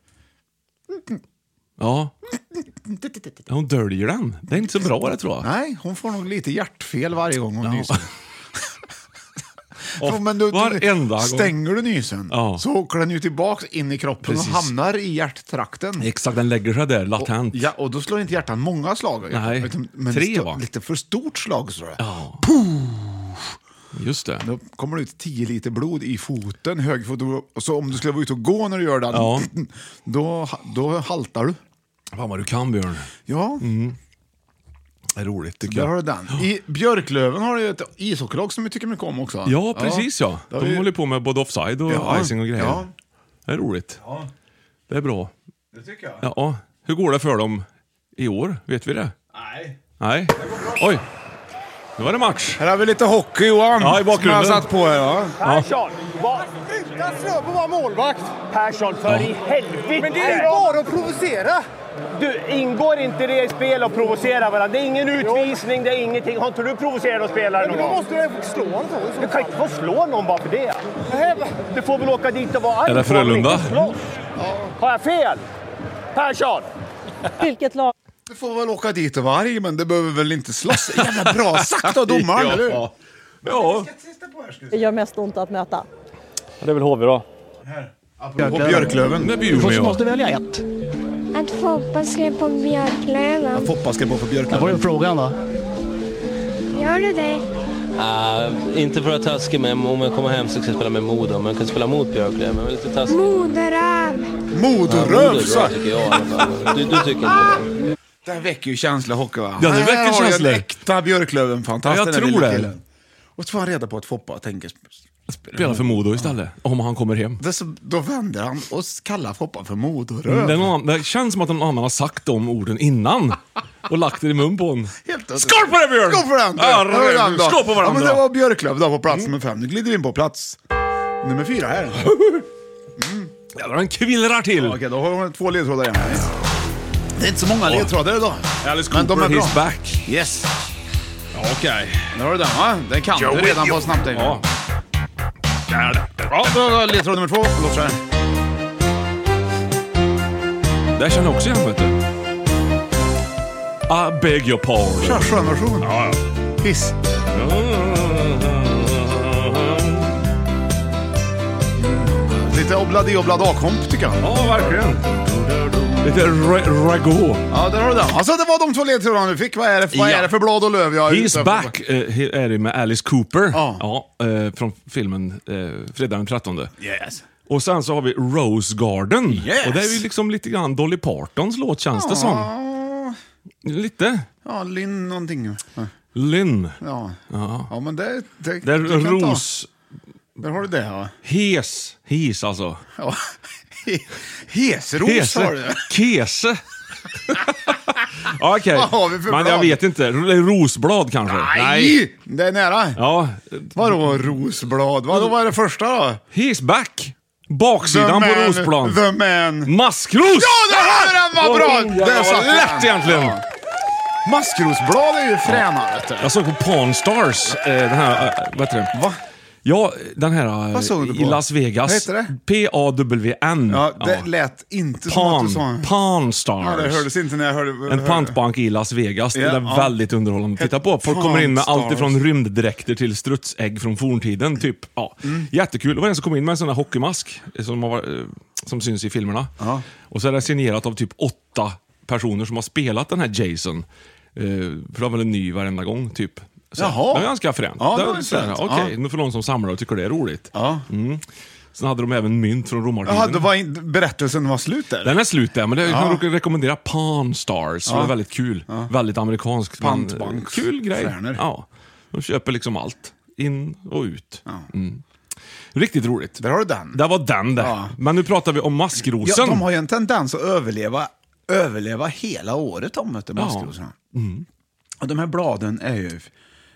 Speaker 2: Ja. Hon döljer den. Det är inte så bra det tror jag.
Speaker 3: Nej, hon får nog lite hjärtfel varje gång hon nyser.
Speaker 2: Och
Speaker 3: Ja, men du,
Speaker 2: varenda gång.
Speaker 3: stänger du nysen
Speaker 2: Ja.
Speaker 3: så åker den ju tillbaks in i kroppen
Speaker 2: Precis.
Speaker 3: och hamnar i hjärttrakten.
Speaker 2: Exakt, den lägger sig där latent.
Speaker 3: Ja, och då slår inte hjärtan många slag.
Speaker 2: Nej,
Speaker 3: Utan- Men
Speaker 2: tre,
Speaker 3: stå-
Speaker 2: va?
Speaker 3: Lite för stort slag slår det.
Speaker 2: Just det.
Speaker 3: Då kommer det ut 10 liter blod i foten, högerfot. och- Så om du skulle vara ute och gå när du gör det,
Speaker 2: Ja.
Speaker 3: då, då haltar du.
Speaker 2: Fan vad du kan Björn.
Speaker 3: Ja,
Speaker 2: Mm, Det är roligt tycker
Speaker 3: där
Speaker 2: jag.
Speaker 3: har du den. I Björklöven har du ju ett ishockeylag som vi tycker mycket om också.
Speaker 2: Ja, precis ja.
Speaker 3: Då har
Speaker 2: De
Speaker 3: vi-
Speaker 2: håller på med både offside och
Speaker 3: Ja.
Speaker 2: icing och grejer.
Speaker 3: Ja.
Speaker 2: Det är roligt. Det är bra.
Speaker 3: Det tycker jag.
Speaker 2: Ja, hur går det för dem i år? Vet vi det?
Speaker 3: Nej.
Speaker 2: Nej. Oj, nu var det match.
Speaker 3: Här har vi lite hockey Johan.
Speaker 2: Ja, i bakgrunden.
Speaker 3: Som jag satt på här. Ja.
Speaker 7: Persson! Vad? Sluta slå på vår målvakt! Persson, för i helvete! Men det är ju bara att provocera! Du, ingår inte det i spel att provocera varandra? Det är ingen utvisning, det är ingenting. Har inte du provocerat spelare någon gång? Då måste du slå honom Du kan inte få slå någon bara för det. Du får väl åka dit och vara arg
Speaker 2: Är det
Speaker 7: på honom,
Speaker 2: Frölunda?
Speaker 7: inte slåss. Har jag fel? Persson! Vilket lag?
Speaker 3: Du får väl åka dit och vara arg, men det behöver väl inte slåss. Jävla bra sagt av domaren, eller hur?
Speaker 2: Ja. ja.
Speaker 8: Det gör mest ont att möta.
Speaker 7: Det är väl HV då.
Speaker 3: På Björklöven.
Speaker 2: Det blir ju med. ja.
Speaker 4: välja ett.
Speaker 9: Att Foppa skrev på Björklöven.
Speaker 3: Foppa ska gå på Björklöven.
Speaker 4: Vad är frågan då?
Speaker 9: Gör du det?
Speaker 6: inte för att vara taskig, men om jag kommer hem så ska jag spela med Modo. Men jag kan spela mot Björklöven, men lite taskig.
Speaker 9: Moderöv.
Speaker 3: Modoröv, sa
Speaker 6: tycker jag i alla fall. Du, du tycker inte det?
Speaker 3: Det väcker ju känsla hockey va?
Speaker 2: Ja, det väcker
Speaker 3: Här har jag
Speaker 2: känslor.
Speaker 3: en äkta Björklöven-fantast.
Speaker 2: Ja, jag
Speaker 3: den här
Speaker 2: tror
Speaker 3: lilla
Speaker 2: det.
Speaker 3: killen. Och så får han reda på att Foppa tänker... sp- sp-
Speaker 2: Spela för Modo istället, om han kommer hem.
Speaker 3: Det är så, då vänder han och kallar Foppa för
Speaker 2: Mm,
Speaker 3: Modoröv.
Speaker 2: Det, är någon, det känns som att någon annan har sagt de orden innan och lagt det i mun på en.
Speaker 3: Helt otroligt.
Speaker 2: Skål på det Björn!
Speaker 3: Skål på den!
Speaker 2: Ja,
Speaker 3: Det var den då.
Speaker 2: Skål på
Speaker 3: Ja,
Speaker 2: varandra! Mm.
Speaker 3: men det var Björklöv då på plats nummer fem. Nu glider vi in på plats nummer fyra här.
Speaker 2: Jävlar, den kvillrar till!
Speaker 3: Okej, då har vi två ledtrådar igen. Det är inte så många ledtrådar idag.
Speaker 2: Alice
Speaker 3: Men de
Speaker 2: Cooper,
Speaker 3: är
Speaker 2: he's
Speaker 3: bra.
Speaker 2: back.
Speaker 3: Yes,
Speaker 2: Okej.
Speaker 3: nu har du den va? Den kan du redan på snabbt.
Speaker 2: Ja.
Speaker 3: Ja. Ja, då har vi ledtråd nummer två. Låt säga.
Speaker 2: Där känner jag också igen, vet du. I beg your pardon.
Speaker 3: Kör skönversion.
Speaker 2: Ja, ja.
Speaker 3: Hiss. Lite obladi obladakomp tycker jag.
Speaker 2: Ja, verkligen. Lite ra- rago.
Speaker 3: Ja, där har du den. Alltså det var de två ledtrådarna vi fick. Vad är det, vad
Speaker 2: Ja.
Speaker 3: är det för blad och löv jag är ute
Speaker 2: He's
Speaker 3: efter?
Speaker 2: back eh, he- är det med Alice Cooper.
Speaker 3: Ja.
Speaker 2: Ja, eh, från filmen eh, Fredag den 13.
Speaker 3: Yes.
Speaker 2: Och sen så har vi Rose Garden.
Speaker 3: Yes.
Speaker 2: Och det är ju liksom lite grann Dolly Partons låt känns det som.
Speaker 3: Ja,
Speaker 2: Lite.
Speaker 3: ja Linn någonting. Ja.
Speaker 2: Lynn.
Speaker 3: Ja, ja men det... Det,
Speaker 2: Det är
Speaker 3: du kan ta.
Speaker 2: Ros.
Speaker 3: Där har du det ja.
Speaker 2: Hes. Hes alltså.
Speaker 3: ja. Hesros har du.
Speaker 2: Hese. Kese. Ja, Okej.
Speaker 3: Vad har vi för
Speaker 2: Men jag
Speaker 3: blad?
Speaker 2: vet inte. Det är Rosblad kanske?
Speaker 3: Nej! Det är nära.
Speaker 2: Ja.
Speaker 3: Vadå rosblad? Vadå, vad är det första då?
Speaker 2: He's back. Baksidan på Rosplan.
Speaker 3: The man.
Speaker 2: Maskros!
Speaker 3: Ja, där har vi den! Vad
Speaker 2: Oj,
Speaker 3: bra!
Speaker 2: jävlar,
Speaker 3: Där satt
Speaker 2: vad
Speaker 3: den.
Speaker 2: lätt egentligen.
Speaker 3: Ja. Maskrosblad är ju fräna vet du.
Speaker 2: Jag såg på Pawn Stars, eh, den här, eh, vad heter det?
Speaker 3: Va?
Speaker 2: Ja, den här eh,
Speaker 3: Vad såg du
Speaker 2: i
Speaker 3: på?
Speaker 2: Las Vegas.
Speaker 3: Vad heter det?
Speaker 2: P-A-W-N.
Speaker 3: Ja, det lät inte som att
Speaker 2: Pawn,
Speaker 3: du sa...
Speaker 2: Pawn Stars.
Speaker 3: Ja, det hördes inte när jag hörde...
Speaker 2: En
Speaker 3: hörde.
Speaker 2: pantbank i Las Vegas.
Speaker 3: Ja,
Speaker 2: det är
Speaker 3: ja.
Speaker 2: väldigt underhållande att titta på. Folk
Speaker 3: Pawn
Speaker 2: kommer in med allt
Speaker 3: Stars.
Speaker 2: ifrån rymddräkter till strutsägg från forntiden. Typ. Ja.
Speaker 3: Mm.
Speaker 2: Jättekul. Det var en som kom in med en sån här hockeymask eh, som, har, varit, eh, som syns i filmerna. Och så är det signerat av typ åtta personer som har spelat den här Jason. Eh, för det var väl en ny varenda gång, typ. Så
Speaker 3: Jaha.
Speaker 2: Det var ganska fränt.
Speaker 3: Ja, det var
Speaker 2: så här,
Speaker 3: fränt.
Speaker 2: Okej,
Speaker 3: Ja.
Speaker 2: nu för någon som samlar och tycker det är roligt. Mm.
Speaker 3: Ja.
Speaker 2: Sen hade de även mynt från romartiden.
Speaker 3: Jaha, det var in... berättelsen var slut där?
Speaker 2: Den är slut där, men det, jag kan rekommendera Pawn Stars. för Det är väldigt kul. Väldigt amerikanskt. men
Speaker 3: Pantbank.
Speaker 2: Kul grej.
Speaker 3: Stjärnor.
Speaker 2: Ja. De köper liksom allt. In och ut. Mm. Riktigt roligt.
Speaker 3: Där har du den.
Speaker 2: Där var den där.
Speaker 3: Ja.
Speaker 2: Men nu pratar vi om maskrosen.
Speaker 3: Ja, de har ju en tendens att överleva, överleva hela året om, vet du, maskrosorna.
Speaker 2: Mm.
Speaker 3: Och de här bladen är ju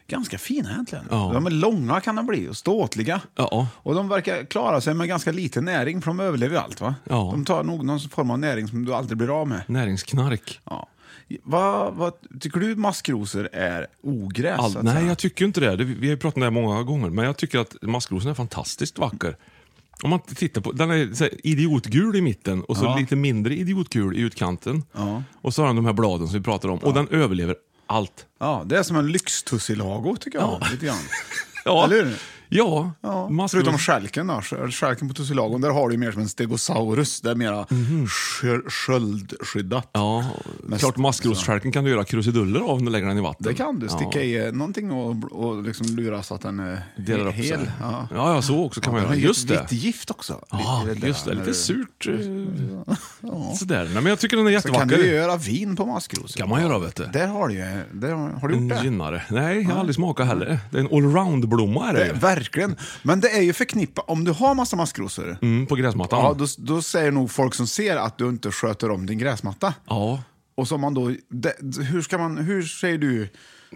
Speaker 3: ganska fina egentligen.
Speaker 2: Ja.
Speaker 3: De är långa kan de bli och ståtliga.
Speaker 2: Ja.
Speaker 3: Och de verkar klara sig med ganska lite näring, för de överlever ju allt. va?
Speaker 2: Ja. Mm.
Speaker 3: De tar nog någon form av näring som du aldrig blir av med.
Speaker 2: Näringsknark.
Speaker 3: Ja. Vad, vad, tycker du maskrosor är ogräs? så
Speaker 2: All,
Speaker 3: att
Speaker 2: nej,
Speaker 3: säga?
Speaker 2: jag tycker inte det. det. Vi vi har ju pratat om det här många gånger, men jag tycker att maskrosen är fantastiskt vacker. Om man tittar på, den är så här idiotgul i mitten och så lite mindre idiotgul i utkanten. Och så har den de här bladen som vi pratar om och den överlever allt.
Speaker 3: ja, det är som en lyxtussilago, tycker jag. Lite grann.
Speaker 2: Ja,
Speaker 3: Eller hur?
Speaker 2: ja,
Speaker 3: Ja,
Speaker 2: maskros.
Speaker 3: förutom stjälken då. Stjäl- Stjälken på tussilagon, där har du ju mer som en stegosaurus. Det är mera skö- sköldskyddat.
Speaker 2: Mhm. Ja,
Speaker 3: Mest-
Speaker 2: klart maskrosstjälken kan du göra krusiduller av när du lägger den i vatten.
Speaker 3: Det kan du, sticka i eh, någonting och, och liksom lura så att den är
Speaker 2: Delar upp
Speaker 3: hel.
Speaker 2: sig.
Speaker 3: Ja.
Speaker 2: Ja. ja, så också kan man
Speaker 3: Den har
Speaker 2: göra.
Speaker 3: ju
Speaker 2: Just
Speaker 3: ett
Speaker 2: det.
Speaker 3: vitt gift också.
Speaker 2: Ja,
Speaker 3: I där
Speaker 2: just det.
Speaker 3: när
Speaker 2: Lite
Speaker 3: du-
Speaker 2: surt. eh, Sådär. Nej, men jag tycker den är
Speaker 3: Så kan du ju
Speaker 2: jättevacker.
Speaker 3: göra vin på maskrosor.
Speaker 2: kan man göra, vet du.
Speaker 3: Där har du ju, där har, har du
Speaker 2: En
Speaker 3: gjort det? Ah.
Speaker 2: gynnare. Nej, jag har aldrig smakat heller. Det är en allround-blomma är det
Speaker 3: det
Speaker 2: ju.
Speaker 3: verkligen. Men det är ju förknippat, om du har massa maskrosor,
Speaker 2: Mm, på gräsmattan.
Speaker 3: ja, då, då säger nog folk som ser att du inte sköter om din gräsmatta.
Speaker 2: Ja.
Speaker 3: Och så om man då, det, hur, ska man, hur säger du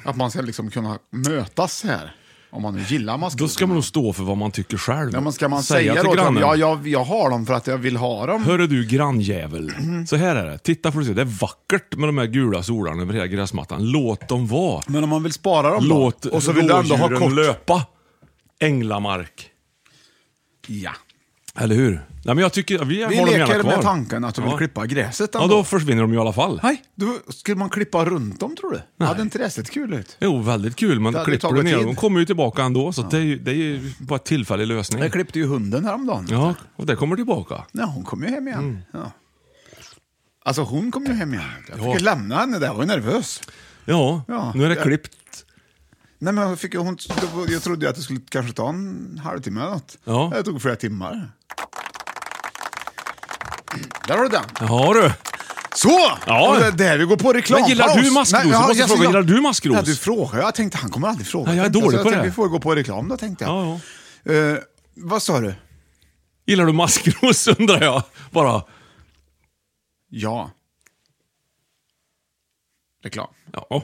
Speaker 3: att man ska liksom kunna mötas här? Om man nu gillar maskrosor.
Speaker 2: Då ska man nog stå för vad man tycker själv.
Speaker 3: Ja, men ska man säga,
Speaker 2: till
Speaker 3: då till
Speaker 2: grannen.
Speaker 3: ja, jag, jag har dem för att jag vill ha dem?
Speaker 2: Hörru du grannjävel.
Speaker 3: Mm-hmm.
Speaker 2: Så här är det. Titta får du se. Det är vackert med de här gula solarna över hela gräsmattan. Låt dem vara.
Speaker 3: Men om man vill spara dem
Speaker 2: Låt
Speaker 3: då? Och så vill du ändå ha
Speaker 2: rådjuren
Speaker 3: kort?
Speaker 2: löpa. Änglamark.
Speaker 3: Ja.
Speaker 2: Eller hur? Nej, men jag tycker, vi
Speaker 3: Vi
Speaker 2: har dem gärna
Speaker 3: leker
Speaker 2: kvar.
Speaker 3: med tanken att du vill
Speaker 2: Ja.
Speaker 3: klippa gräset
Speaker 2: Ja,
Speaker 3: ändå.
Speaker 2: då försvinner de ju i alla fall.
Speaker 3: Nej, då skulle man klippa runt dem tror du? Hade inte det sett kul ut?
Speaker 2: Jo, väldigt kul, men
Speaker 3: Det hade
Speaker 2: klipper du
Speaker 3: tagit
Speaker 2: ner dem,
Speaker 3: tid.
Speaker 2: de kommer ju tillbaka ändå. Så det, är ju, det är ju bara en tillfällig lösning.
Speaker 3: Jag klippte ju hunden häromdagen.
Speaker 2: Ja, och det kommer tillbaka.
Speaker 3: Nej, hon kom ju hem igen.
Speaker 2: Mm.
Speaker 3: Ja. Alltså hon kom ju hem igen. Jag fick
Speaker 2: Ja.
Speaker 3: ju lämna henne där, jag var ju nervös.
Speaker 2: Ja,
Speaker 3: Ja,
Speaker 2: nu är det
Speaker 3: det-
Speaker 2: klippt.
Speaker 3: Nej, men jag, fick, ju- hon, jag trodde ju att det skulle kanske ta en halvtimme eller något.
Speaker 2: Ja.
Speaker 3: Det tog flera timmar. Där har du den.
Speaker 2: Ja du.
Speaker 3: Så!
Speaker 2: Ja.
Speaker 3: Och Det är där vi går på reklampaus.
Speaker 2: Men gillar du maskrosor?
Speaker 3: Nej, ja,
Speaker 2: Måste
Speaker 3: jag
Speaker 2: fråga,
Speaker 3: ska-
Speaker 2: gillar du maskros?
Speaker 3: Nej, du frågar. Jag tänkte, han kommer aldrig fråga.
Speaker 2: Nej, jag är
Speaker 3: tänkte
Speaker 2: dålig
Speaker 3: så
Speaker 2: på
Speaker 3: jag
Speaker 2: det.
Speaker 3: Tänkte, vi får gå på reklam då, tänkte jag.
Speaker 2: Ja, ja.
Speaker 3: Eh, vad sa du?
Speaker 2: Gillar du maskros undrar jag. Bara.
Speaker 3: Ja. Reklam.
Speaker 2: Ja.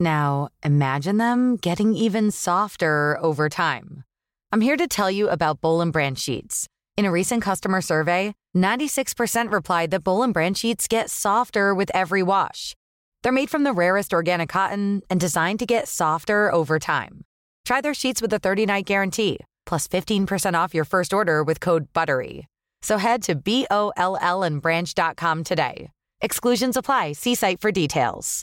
Speaker 10: Now, imagine them getting even softer over time. I'm here to tell you about Bowl and Branch sheets. In a recent customer survey, 96% replied that Bowl and Branch sheets get softer with every wash. They're made from the rarest organic cotton and designed to get softer over time. Try their sheets with a 30-night guarantee, plus 15% off your first order with code BUTTERY. So head to B-O-L-L and branch.com today. Exclusions apply. See site for details.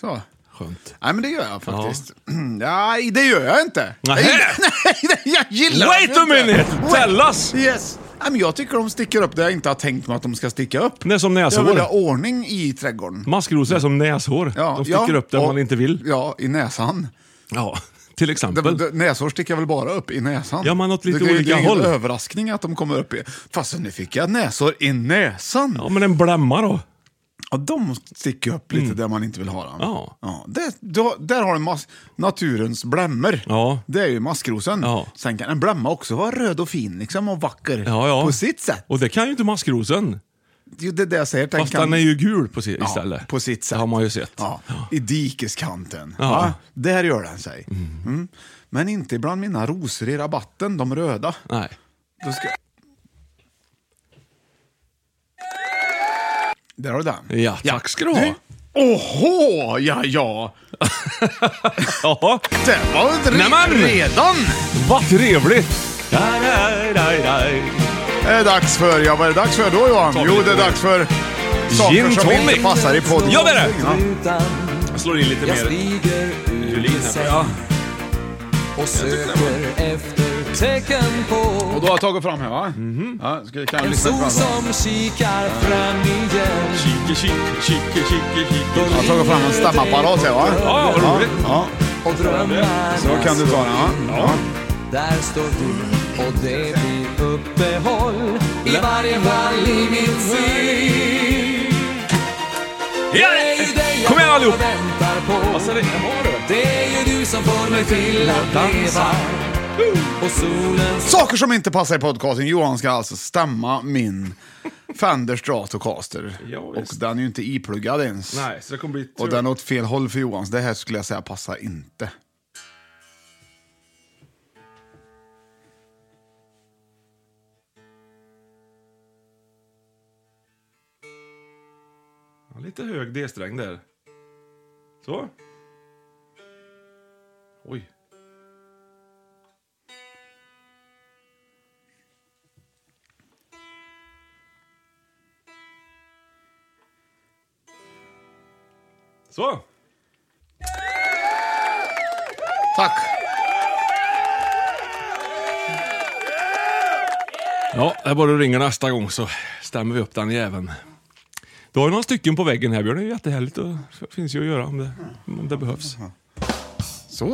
Speaker 3: Så.
Speaker 2: Skönt.
Speaker 3: Nej, men det gör jag faktiskt. Nej, det gör jag inte.
Speaker 2: Nähä.
Speaker 3: Jag gillar- Nej, jag gillar dem
Speaker 2: Wait a
Speaker 3: inte.
Speaker 2: minute!
Speaker 3: Wait.
Speaker 2: Tell us!
Speaker 3: Yes. Nej, men jag tycker de sticker upp där jag inte har tänkt mig att de ska sticka upp.
Speaker 2: Det är som
Speaker 3: Jag vill ha
Speaker 2: näshår.
Speaker 3: ordning i trädgården.
Speaker 2: Maskrosor är som näshår.
Speaker 3: Ja,
Speaker 2: Mm. De sticker
Speaker 3: ja,
Speaker 2: upp där
Speaker 3: och-
Speaker 2: man inte vill.
Speaker 3: Ja, i näsan.
Speaker 2: Ja, till
Speaker 3: De,
Speaker 2: exempel.
Speaker 3: de, näsor sticker väl bara upp i näsan?
Speaker 2: Ja, men åt lite
Speaker 3: det, det,
Speaker 2: olika
Speaker 3: det är ingen
Speaker 2: håll.
Speaker 3: överraskning att de kommer upp i... Fast nu fick jag näsor i näsan.
Speaker 2: Ja,
Speaker 3: Ja.
Speaker 2: men en blämma då.
Speaker 3: de sticker upp lite där man inte vill ha dem.
Speaker 2: Mm. Ja.
Speaker 3: det, då, där har du mas- naturens blämmor.
Speaker 2: Ja.
Speaker 3: Det är ju maskrosen.
Speaker 2: Ja.
Speaker 3: Sen kan en blämma också vara röd och fin liksom, och vacker
Speaker 2: Ja, ja.
Speaker 3: på sitt sätt.
Speaker 2: Och det kan ju inte maskrosen.
Speaker 3: Det är det där jag säger. Den
Speaker 2: Fast den är ju gul på si- istället.
Speaker 3: Ja, på sitt sätt.
Speaker 2: Det har man ju sett.
Speaker 3: Ja, I dikeskanten.
Speaker 2: Ja.
Speaker 3: Ja. där gör den sig. Mm. Men inte bland mina rosor i rabatten, de röda.
Speaker 2: Nej.
Speaker 3: Då ska... Där har du den.
Speaker 2: Ja, tack ska du ha.
Speaker 3: Åhå, ja ja.
Speaker 2: Jaha.
Speaker 3: Det var väl
Speaker 2: Nej, men!
Speaker 3: re- redan.
Speaker 2: Vad trevligt! Daj, daj, daj, daj.
Speaker 3: Det är dags för, ja vad är det dags för då Johan?
Speaker 2: Ta
Speaker 3: Jo,
Speaker 2: lite
Speaker 3: det är dags för saker
Speaker 2: Gin
Speaker 3: som inte
Speaker 2: tonic.
Speaker 3: passar i podden.
Speaker 2: Ja, det är det.
Speaker 4: Utan
Speaker 2: Jag slår in lite
Speaker 4: jag
Speaker 2: mer
Speaker 4: stiger ur
Speaker 2: violin
Speaker 4: min
Speaker 2: här.
Speaker 4: säng
Speaker 2: Ja.
Speaker 4: och söker efter tecken på
Speaker 3: Och då har jag tagit fram här va?
Speaker 2: Mhm.
Speaker 3: Mm-hmm. Ja, ska, kan jag
Speaker 4: en
Speaker 3: lyssna på
Speaker 4: sol
Speaker 3: den?
Speaker 4: som kikar fram igen.
Speaker 2: Kike, kike, kike, kike, kike.
Speaker 3: Jag har tagit fram en stämapparat här va?
Speaker 2: Ja, vad
Speaker 3: ja,
Speaker 2: roligt.
Speaker 3: ja.
Speaker 4: Och drömmarna
Speaker 3: Så kan du ta den va? Ja.
Speaker 4: Där står du och det blir uppehåll i varje fall i min syn.
Speaker 2: Ja! Kom igen allihop!
Speaker 4: Väntar på.
Speaker 2: Alltså, det- jaha, du.
Speaker 4: Det är ju du som får mig till att leva. Och solen
Speaker 3: Saker som inte passar i podcasten. Johan ska alltså stämma min Fender Stratocaster. och den är ju inte ipluggad ens.
Speaker 2: Nej, så det kommer bli tur.
Speaker 3: Och den åt fel håll för Johans. Det här skulle jag säga passar inte.
Speaker 2: Ja, lite hög D-sträng där. Så. Oj. Så.
Speaker 3: Tack.
Speaker 2: Ja, det är bara du ringer nästa gång så stämmer vi upp den jäveln. Du har ju några stycken på väggen här Björn, det är ju jättehärligt. Det finns ju att göra om det, om det behövs.
Speaker 3: Så,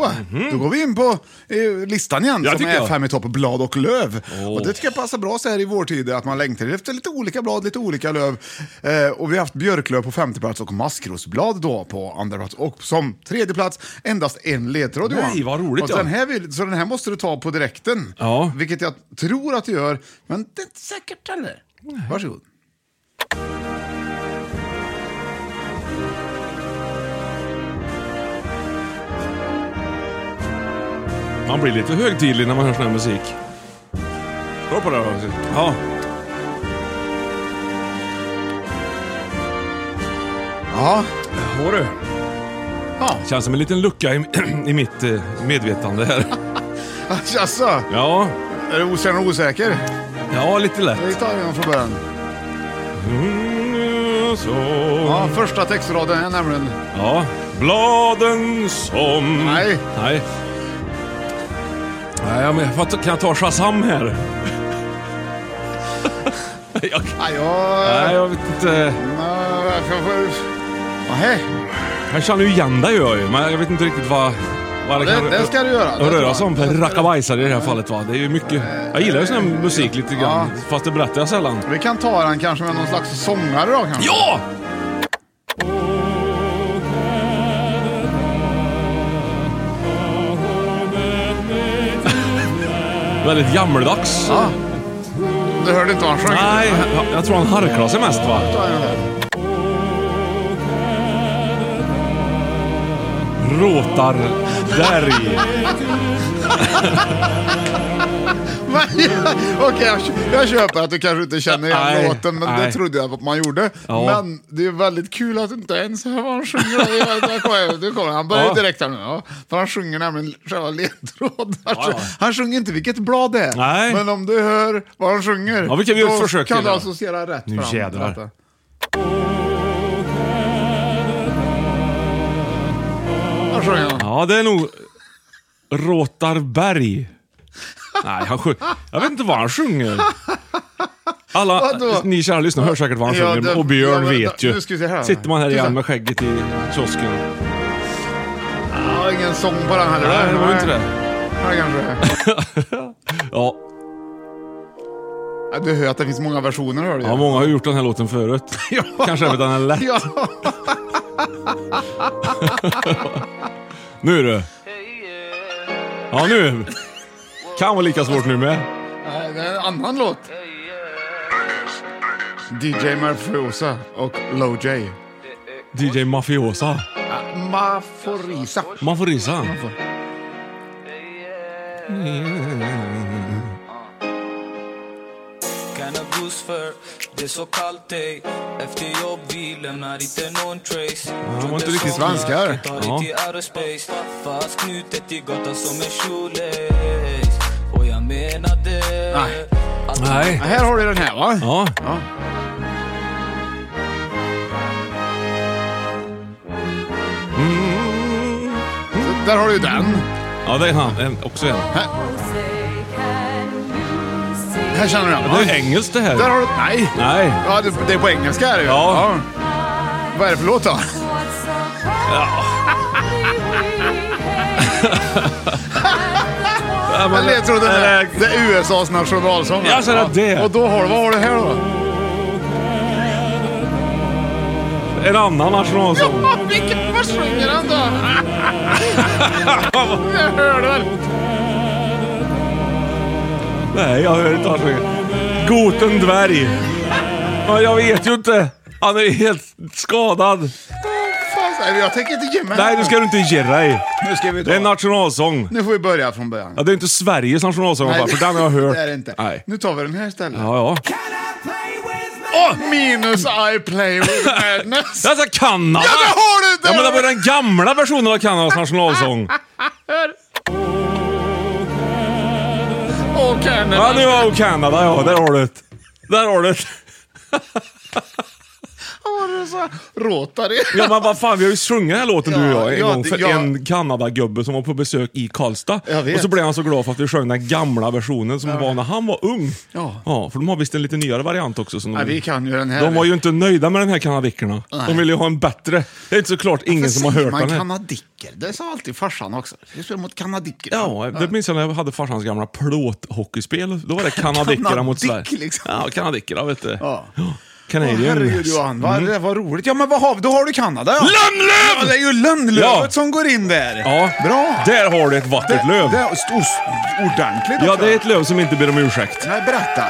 Speaker 3: då går vi in på eh, listan igen
Speaker 2: Mhm. Ja,
Speaker 3: som
Speaker 2: tycker
Speaker 3: är
Speaker 2: jag.
Speaker 3: fem i topp, blad och löv. Och det tycker jag passar bra så här i vårtid, att man längtar efter lite olika blad, lite olika löv. Eh, och vi har haft björklöv på femte plats och maskrosblad då på andra plats. Och som tredje plats endast en ledtråd
Speaker 2: Nej,
Speaker 3: Johan.
Speaker 2: vad roligt,
Speaker 3: och
Speaker 2: ja.
Speaker 3: den här vill, Så den här måste du ta på direkten,
Speaker 2: Ja.
Speaker 3: vilket jag tror att du gör, men det är inte säkert heller. Varsågod.
Speaker 2: Man blir lite högtidlig när man hör sån här musik. Kolla på det här också. Ja.
Speaker 3: Ja.
Speaker 2: Hör du.
Speaker 3: Ja.
Speaker 2: Känns som en liten lucka i, i mitt eh, medvetande här.
Speaker 3: Jaså?
Speaker 2: Ja.
Speaker 3: Är du okänd och osäker?
Speaker 2: Ja, lite lätt.
Speaker 3: Vi tar den från början. Ja, första textraden är nämligen...
Speaker 2: Mm, Ja. Bladen som...
Speaker 3: Nej.
Speaker 2: Nej. Nej, men jag fattar- kan jag ta Shazam här? jag,
Speaker 3: Nej, jag...
Speaker 2: nej, jag vet inte.
Speaker 3: Nähä.
Speaker 2: Jag känner ju igen dig gör jag ju, men jag vet inte riktigt vad... vad
Speaker 3: Ja, det- det ska du göra. Det
Speaker 2: Och
Speaker 3: tror
Speaker 2: röra
Speaker 3: jag.
Speaker 2: sig om för en rackabajsare i det här fallet va. Det är ju mycket... Jag gillar ju sån här musik lite grann, fast det berättar jag sällan.
Speaker 3: Vi kan ta den kanske med någon slags sångare då kanske?
Speaker 2: Ja! Väldigt gammeldags.
Speaker 3: Ja. Du hörde inte vad han sjöng?
Speaker 2: Nej, jag, jag tror han harklar sig mest va.
Speaker 3: Ta den här.
Speaker 2: Råtarberg.
Speaker 3: Men- Okej, jag, jag köper att du kanske inte känner igen
Speaker 2: Nej,
Speaker 3: låten, men det
Speaker 2: nej.
Speaker 3: trodde jag att man gjorde.
Speaker 2: Ja.
Speaker 3: Men det är väldigt kul att du inte ens hör vad han sjunger. Jag vet, jag kommer- Nu kommer han. Han börjar
Speaker 2: Ja.
Speaker 3: direkt här nu. Ja. För han sjunger nämligen själva ledtråden. Han,
Speaker 2: Ja, ja.
Speaker 3: sj- han sjunger inte vilket blad det är,
Speaker 2: Nej.
Speaker 3: men om du hör vad han sjunger,
Speaker 2: Ja, vi kan ju göra ett försök
Speaker 3: kan
Speaker 2: till
Speaker 3: du
Speaker 2: det.
Speaker 3: associera rätt
Speaker 2: Nu
Speaker 3: fram till
Speaker 2: jädrar.
Speaker 3: detta. Han sjunger.
Speaker 2: Ja, det är nog Råtarberg. Nej, han sjung... Jag vet inte vad han sjunger. Alla
Speaker 3: Vadå?
Speaker 2: ni kära lyssnare hör säkert vad han
Speaker 3: Ja,
Speaker 2: sjunger
Speaker 3: det-
Speaker 2: och Björn
Speaker 3: ja, men
Speaker 2: vet
Speaker 3: vänta,
Speaker 2: ju.
Speaker 3: nu ska vi se här.
Speaker 2: Sitter man här
Speaker 3: Titta.
Speaker 2: igen med skägget i kiosken.
Speaker 3: Ja, ingen sång på den heller.
Speaker 2: Nej, det var ju inte det.
Speaker 3: Ja, kanske.
Speaker 2: Ja,
Speaker 3: Ja, Du hör att det finns många versioner, hör du
Speaker 2: ja, många har ju gjort den här låten förut. Kanske även den är lätt.
Speaker 3: Ja.
Speaker 2: Nu du. Ja, nu. Kan vara lika svårt nu med.
Speaker 3: Nej, det är en annan låt. DJ Mafiosa och Low J.
Speaker 2: DJ Mafiosa.
Speaker 3: Maforisa.
Speaker 2: Man får risa.
Speaker 11: Mm. Kan ha buss för det är så kallt ej Efter jobb vi lämnar inte någon trace
Speaker 3: de var inte riktigt svenskar.
Speaker 11: Tar
Speaker 3: Ja.
Speaker 11: dig till aerospace Fast knutet i gatan som en shoelace Och jag menade
Speaker 3: Nej.
Speaker 11: att-
Speaker 2: Nej.
Speaker 3: Här har du den här va?
Speaker 2: Ja.
Speaker 3: Ja. Så där har du ju den.
Speaker 2: Ja, det är han. En, också en.
Speaker 3: Här känner du den va?
Speaker 2: Det är engelskt det
Speaker 3: Där
Speaker 2: här.
Speaker 3: har du... Nej.
Speaker 2: Nej.
Speaker 3: Ja, det, det är på engelska är det ju.
Speaker 2: Ja.
Speaker 3: Ja. Vad är det för låt då?
Speaker 2: Ja, men-
Speaker 3: Eller jag tror den är, det är USAs nationalsång.
Speaker 2: Ja, så är det det.
Speaker 3: Och då har du, vad har du här då?
Speaker 2: En annan nationalsång.
Speaker 3: Vilken, vad sjunger han då? Jag hör det.
Speaker 2: Nej, jag hör inte vad han sjunger. Goten dvärg. Ja, jag vet ju inte. Han är helt skadad.
Speaker 3: Fan, jag tänker inte ge mig.
Speaker 2: Nej, nu ska du inte ge dig.
Speaker 3: Nu ska vi ta-
Speaker 2: Det är en nationalsång.
Speaker 3: Nu får vi börja från början.
Speaker 2: Ja, det är inte Sveriges nationalsång i alla fall, för den har jag hört.
Speaker 3: Det är det inte.
Speaker 2: Nej.
Speaker 3: Nu tar vi den här istället.
Speaker 2: Ja, ja.
Speaker 3: Åh, minus I play with madness.
Speaker 2: Det är alltså Kanada!
Speaker 3: Ja, det har du inte!
Speaker 2: Ja, men det var den gamla versionen av Kanadas nationalsång.
Speaker 3: Åh, Canada.
Speaker 2: Ja, nu var Kanada, ja. Där har du det. Där har du det.
Speaker 3: Åh, det är så Rotary.
Speaker 2: Ja men vad fan, vi har ju sjungit den här låten du och jag en
Speaker 3: ja,
Speaker 2: gång för
Speaker 3: ja.
Speaker 2: en Kanadagubbe som var på besök i Karlstad.
Speaker 3: Jag vet.
Speaker 2: Och så blev han så glad för att vi sjöng den gamla versionen som
Speaker 3: Ja.
Speaker 2: var när han var ung.
Speaker 3: Ja.
Speaker 2: för de har visst en lite nyare variant också. Som
Speaker 3: Nej,
Speaker 2: de,
Speaker 3: vi kan ju den här.
Speaker 2: de var ju inte nöjda med den här kanadickerna.
Speaker 3: Nej.
Speaker 2: De ville ju ha en bättre. Det är inte såklart
Speaker 3: Varför
Speaker 2: ingen som har
Speaker 3: säger
Speaker 2: hört
Speaker 3: man
Speaker 2: den här.
Speaker 3: kanadicker? Det sa alltid farsan också. Vi spelar mot kanadicker.
Speaker 2: Ja, det minns jag när jag hade farsans gamla plåthockeyspel. Då var det kanadickerna mot Sverige.
Speaker 3: Kanadick, liksom.
Speaker 2: Ja, kanadickerna vet du.
Speaker 3: Ja.
Speaker 2: Canadian.
Speaker 3: Herregud Johan, vad,
Speaker 2: Mm.
Speaker 3: det var roligt. Ja men vad har vi? Då har du Kanada ja.
Speaker 2: Lönnlöv!
Speaker 3: Ja, det är ju lönnlövet
Speaker 2: Ja.
Speaker 3: som går in där.
Speaker 2: Ja,
Speaker 3: Bra.
Speaker 2: där har du ett vackert löv.
Speaker 3: Det är st- st- ordentligt
Speaker 2: Ja,
Speaker 3: också.
Speaker 2: det är ett löv som inte ber om ursäkt.
Speaker 3: Nej, berätta.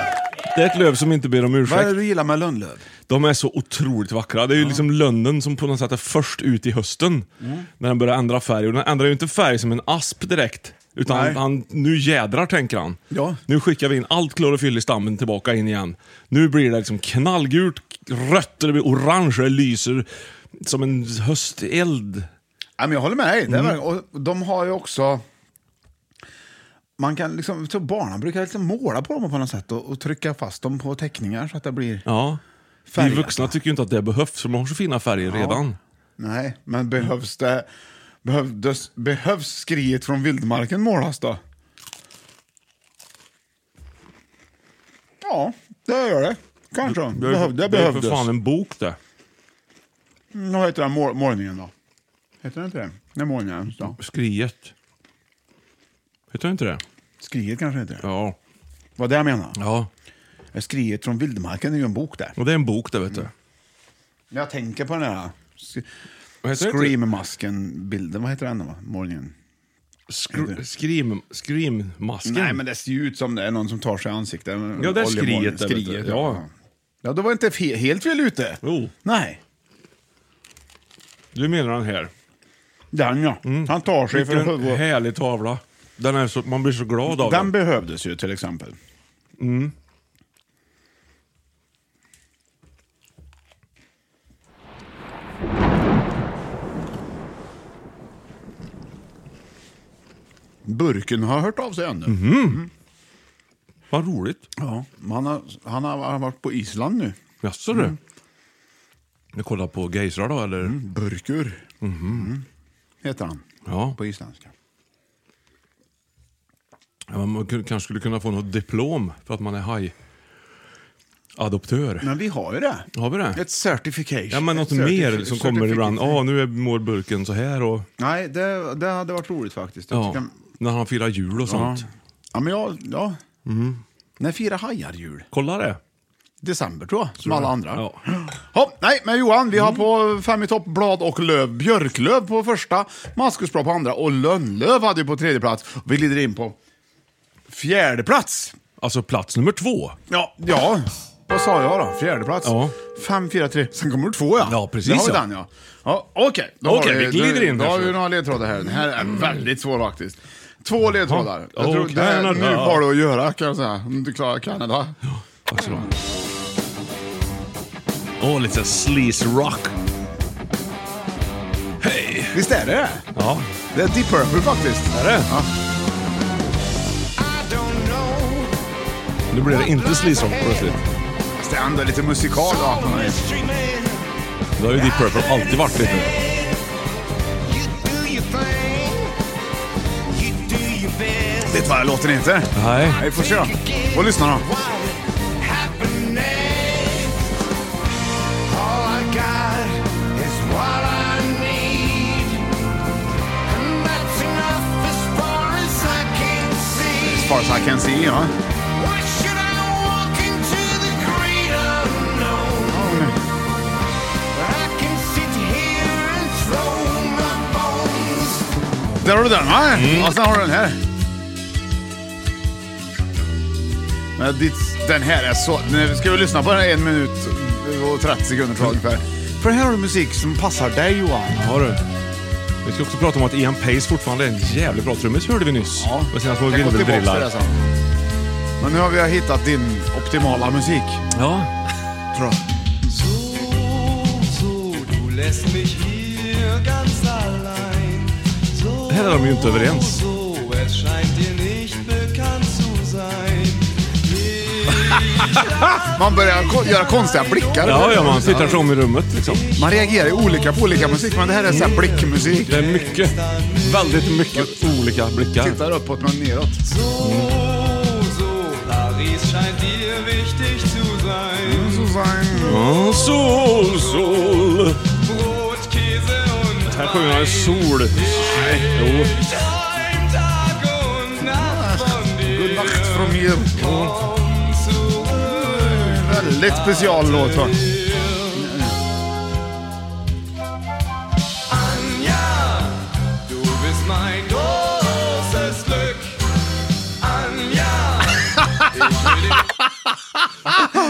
Speaker 2: Det är ett löv som inte ber om
Speaker 3: Vad är
Speaker 2: ursäkt.
Speaker 3: det du gillar med lönnlöv?
Speaker 2: De är så otroligt vackra. Det är ju liksom lönnen som på något sätt är först ut i hösten.
Speaker 3: Mm.
Speaker 2: När den börjar ändra färg. Och den ändrar ju inte färg som en asp direkt. Utan
Speaker 3: Nej.
Speaker 2: han, nu jädrar tänker han.
Speaker 3: Ja.
Speaker 2: Nu skickar vi in allt klorofyll i stammen tillbaka in igen. Nu blir det liksom knallgult, rött, och det blir orange, och det lyser som en hösteld.
Speaker 3: Ja, men jag håller med dig. Det är verkligen- och de har ju också... Man kan liksom, så barnen brukar liksom måla på dem på något sätt och, och trycka fast dem på teckningar så att det blir...
Speaker 2: Ja. Vi
Speaker 3: Färgat,
Speaker 2: vuxna tycker ju inte att det behövs, för de har så fina färger redan.
Speaker 3: Nej, men behövs det... Behövdes, behövs skriet från vildmarken målas då? Ja, det gör det. Kanske.
Speaker 2: Det är,
Speaker 3: Behövde, det
Speaker 2: det är för
Speaker 3: behövdes.
Speaker 2: fan en bok det.
Speaker 3: Mm, Vad heter den mål, målningen då? Heter den inte det? Den målningen. Då.
Speaker 2: Skriet. Heter det inte det?
Speaker 3: Skriet kanske heter det.
Speaker 2: Ja.
Speaker 3: Vad det jag menar.
Speaker 2: Ja.
Speaker 3: Skriet från vildmarken är ju en bok där.
Speaker 2: Och det är en bok det vet du.
Speaker 3: När jag tänker på den här sk-
Speaker 2: Vad heter det?
Speaker 3: Scream-masken-bilden, vad heter den då? Målningen?
Speaker 2: Skr- Scream, scream-masken?
Speaker 3: Nej, men det ser ju ut som det är någon som tar sig i ansiktet.
Speaker 2: Ja, det är
Speaker 3: Oljemålning.
Speaker 2: skriet där, vet du.
Speaker 3: skriet
Speaker 2: Ja.
Speaker 3: ja. ja, då var jag inte fe- helt fel ute.
Speaker 2: Jo,
Speaker 3: Nej,
Speaker 2: du menar den här.
Speaker 3: den ja.
Speaker 2: Mm.
Speaker 3: Han tar sig för
Speaker 2: Vilken
Speaker 3: huvudet.
Speaker 2: härlig tavla. Den är så, man blir så glad av
Speaker 3: Den
Speaker 2: den.
Speaker 3: behövdes ju till exempel. Mm. Burken har hört av sig ännu.
Speaker 2: Mhm. Vad roligt.
Speaker 3: Ja, men han, har, han har varit på Island nu.
Speaker 2: Jaså du?
Speaker 3: Mm.
Speaker 2: Ni kollar på Geisrar då eller?
Speaker 3: Burkur
Speaker 2: Mhm.
Speaker 3: Mm. heter han
Speaker 2: Ja.
Speaker 3: på isländska.
Speaker 2: ja. men Man kun- kanske skulle kunna få något diplom för att man är haj-adoptör.
Speaker 3: Men vi har ju det.
Speaker 2: Har vi det?
Speaker 3: Ett certification.
Speaker 2: Ja, men något
Speaker 3: Ett certifi-
Speaker 2: mer som kommer
Speaker 3: certificate.
Speaker 2: ibland. Ja, nu är mår burken så här och...
Speaker 3: Nej, det, det hade varit roligt faktiskt. Jag
Speaker 2: Ja,
Speaker 3: tycker-
Speaker 2: när han firar jul och sånt.
Speaker 3: ja men jag... Ja. Mm. När firar hajar jul?
Speaker 2: Kolla det.
Speaker 3: December tror jag, som alla andra.
Speaker 2: Ja.
Speaker 3: Ja, Mm. nej, men Johan, vi har på fem i topp blad och löv. Björklöv på första, maskusblad på andra och lönnlöv hade ju på tredje plats. Vi glider in på fjärde plats.
Speaker 2: Alltså plats nummer två.
Speaker 3: Ja, ja. Vad sa jag då? Fjärde plats.
Speaker 2: Ja.
Speaker 3: Fem, fyra, tre. Sen kommer det två ja.
Speaker 2: Ja, precis,
Speaker 3: Där har vi
Speaker 2: ja.
Speaker 3: den ja. ja Okej, då har
Speaker 2: Okej, vi glider in
Speaker 3: Då, då har vi
Speaker 2: kanske.
Speaker 3: några ledtrådar här. Den här är väldigt svår faktiskt. Två ledtrådar.
Speaker 2: Ja.
Speaker 3: Jag tror,
Speaker 2: Oh,
Speaker 3: det här,
Speaker 2: Canada.
Speaker 3: nu har du att göra kan jag säga. Om du klarar Kanada.
Speaker 2: Alltså. Åh, lite sleaze rock. Hej!
Speaker 3: Visst är det det?
Speaker 2: Ja,
Speaker 3: Det är Deep Purple faktiskt.
Speaker 2: är det?
Speaker 3: Ja.
Speaker 2: Nu blir det inte sleaze rock plötsligt.
Speaker 3: Fast det är ändå lite musikal då.
Speaker 2: Det har ju Deep Purple alltid varit lite.
Speaker 3: Vet du vad låten heter?
Speaker 2: Nej.
Speaker 3: Nej, vi får se då. Och lyssna då. As far as I can see, ja.
Speaker 2: Mm.
Speaker 3: Där har du den va? Och sen har du den här. Men ditt, den här är så... Nu ska vi lyssna på den här en minut och 30 sekunder tror jag ungefär. För här har du musik som passar dig Johan.
Speaker 2: Ja du. Vi ska också prata om att Ian Pace fortfarande är en jävligt bra trummis hörde vi nyss. Ja. Med sina små
Speaker 3: Jag går tillbaka till
Speaker 2: virvelbrillar.
Speaker 3: det sen. Men nu har vi hittat din optimala musik.
Speaker 2: Ja.
Speaker 3: Tror jag.
Speaker 4: So, du lässt mich hier ganz allein. So,
Speaker 2: Här är de ju inte överens.
Speaker 4: so, es scheint dir nicht bekannt zu sein.
Speaker 3: Man börjar ko- göra konstiga blickar.
Speaker 2: Ja, ja, man tittar sig om i rummet liksom.
Speaker 3: Man reagerar ju olika på olika musik, men det här är
Speaker 2: Mm.
Speaker 3: så här blickmusik.
Speaker 2: Det är mycket, väldigt mycket olika blickar.
Speaker 3: Tittar uppåt men neråt.
Speaker 4: So, Paris scheint dir wichtig zu sein.
Speaker 3: Zu
Speaker 2: Mm.
Speaker 3: sein.
Speaker 2: Ja, sol, sol.
Speaker 4: Brot, Käse und
Speaker 2: Här sjunger han sol. Nej. Jo.
Speaker 4: ein Tag und Nacht von dir.
Speaker 3: Nacht från mir. Väldigt special låt va?
Speaker 4: Anja, du bist mein großes Glück. Anja,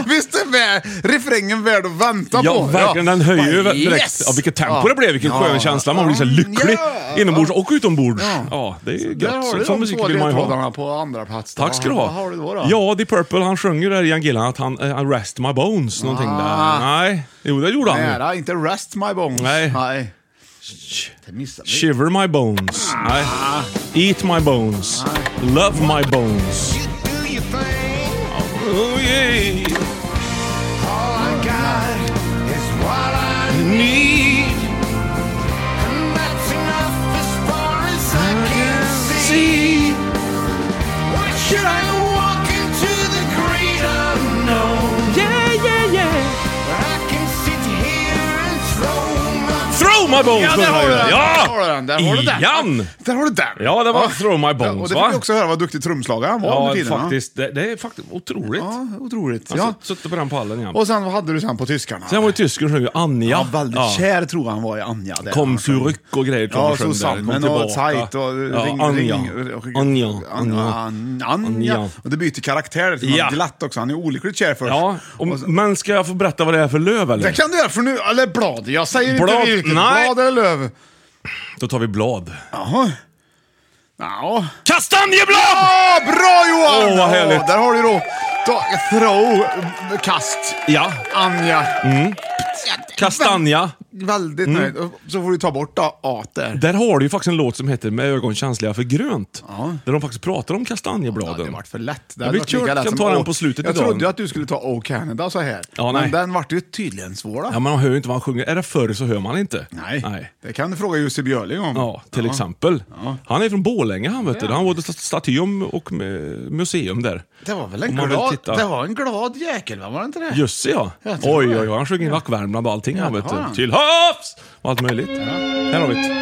Speaker 3: Visst är vä- refrängen värd att vänta
Speaker 2: Ja,
Speaker 3: på?
Speaker 2: verkligen. Den höjer ju direkt. Ja, vilket tempo det blev, vilken skön känsla. Man blir så lycklig inombords och utombords.
Speaker 3: Ja.
Speaker 2: Ja, det är ju
Speaker 3: Där
Speaker 2: gött.
Speaker 3: har du
Speaker 2: Så- Sån
Speaker 3: de
Speaker 2: musik
Speaker 3: två
Speaker 2: vill man ju ha.
Speaker 3: ledtrådarna på andra plats.
Speaker 2: Tack ska du
Speaker 3: Vad har
Speaker 2: ha.
Speaker 3: du då? då?
Speaker 2: Ja, The Purple, han sjunger där, Ian Gillan, att han, eh, rest my bones, någonting
Speaker 3: Ah.
Speaker 2: där. Nej, jo det gjorde han ju.
Speaker 3: Nära, inte rest my bones.
Speaker 2: Nej.
Speaker 3: Nej. Det missade vi.
Speaker 2: Shiver my bones. Nej. Eat my bones. Love my bones.
Speaker 3: Ah.
Speaker 2: Oh yeah. Need. See. Throw my bones!
Speaker 3: Ja, där har du den! Där har du
Speaker 2: Ja!
Speaker 3: den! Där har du den!
Speaker 2: Ian!
Speaker 3: Där har du den!
Speaker 2: Ja, det var Throw my
Speaker 3: Och det
Speaker 2: bones
Speaker 3: fick
Speaker 2: va?
Speaker 3: vi också höra vad duktig trumslagare han var
Speaker 2: Ja,
Speaker 3: under tiden. va?
Speaker 2: faktiskt. Det, det är faktiskt otroligt.
Speaker 3: Ja, otroligt.
Speaker 2: Han
Speaker 3: Ja.
Speaker 2: sutt- suttit på den pallen igen.
Speaker 3: Och sen, vad hade du sen på tyskarna?
Speaker 2: Sen var ju tysken sjöng ju Anja.
Speaker 3: ja, väldigt kär tror jag han var i Anja. där. Alltså,
Speaker 2: Kom sur ryck och grejer. tror jag
Speaker 3: Ja,
Speaker 2: han sjöng där. Kom
Speaker 3: Susanne
Speaker 2: tillbaka.
Speaker 3: och Zeit och
Speaker 2: ja,
Speaker 3: ring,
Speaker 2: Anja.
Speaker 3: ring,
Speaker 2: Anja.
Speaker 3: Anja.
Speaker 2: Anja.
Speaker 3: Anja.
Speaker 2: Anja.
Speaker 3: Och det byter karaktär. Liksom.
Speaker 2: Ja.
Speaker 3: Han är glatt också. Han är olyckligt kär först.
Speaker 2: Ja, och, men ska jag få berätta vad det är för löv eller?
Speaker 3: Det kan du göra för nu, eller blad. Jag säger
Speaker 2: Blad,
Speaker 3: inte vilket.
Speaker 2: nej.
Speaker 3: Blad eller löv.
Speaker 2: Då tar vi blad.
Speaker 3: Jaha. Ja.
Speaker 2: Kastanjeblad!
Speaker 3: Ah, bra Johan!
Speaker 2: Åh, vad härligt.
Speaker 3: Ja, där har du då. Ta, throw, kast.
Speaker 2: Ja,
Speaker 3: Anja.
Speaker 2: Mm. kastanja.
Speaker 3: Väldigt
Speaker 2: Mm.
Speaker 3: nöjd. Och Så får du ta bort då, A där.
Speaker 2: Där har du ju faktiskt en låt som heter Med ögon känsliga för grönt.
Speaker 3: Ja.
Speaker 2: Där de faktiskt pratar om
Speaker 3: Ja, det
Speaker 2: kastanjebladen.
Speaker 3: vart för lätt. Det
Speaker 2: Ja,
Speaker 3: hade
Speaker 2: vi
Speaker 3: varit lika
Speaker 2: kört-
Speaker 3: lätt
Speaker 2: kan
Speaker 3: som
Speaker 2: ta den
Speaker 3: O-
Speaker 2: på slutet
Speaker 3: Jag
Speaker 2: idag.
Speaker 3: trodde ju att du skulle ta O Canada så här.
Speaker 2: Ja, nej.
Speaker 3: Men den vart ju tydligen svår då.
Speaker 2: Ja, man hör ju inte vad han sjunger. Är det förr så hör man inte.
Speaker 3: nej.
Speaker 2: Nej.
Speaker 3: det kan du fråga Jussi Björling om.
Speaker 2: Ja, till exempel. Han är från Borlänge han vet du. Han var ett staty och med- museum där.
Speaker 3: Det var väl en
Speaker 2: Om man vill
Speaker 3: glad,
Speaker 2: titta.
Speaker 3: det var en glad jäkel, va? var det inte det?
Speaker 2: Jussi ja.
Speaker 3: Jag tror
Speaker 2: Oj,
Speaker 3: det.
Speaker 2: oj, oj. Han sjöng in Vack Värmland och allting han
Speaker 3: Ja,
Speaker 2: vet
Speaker 3: det har han.
Speaker 2: du. Till havs! Och allt möjligt. Här har vi det.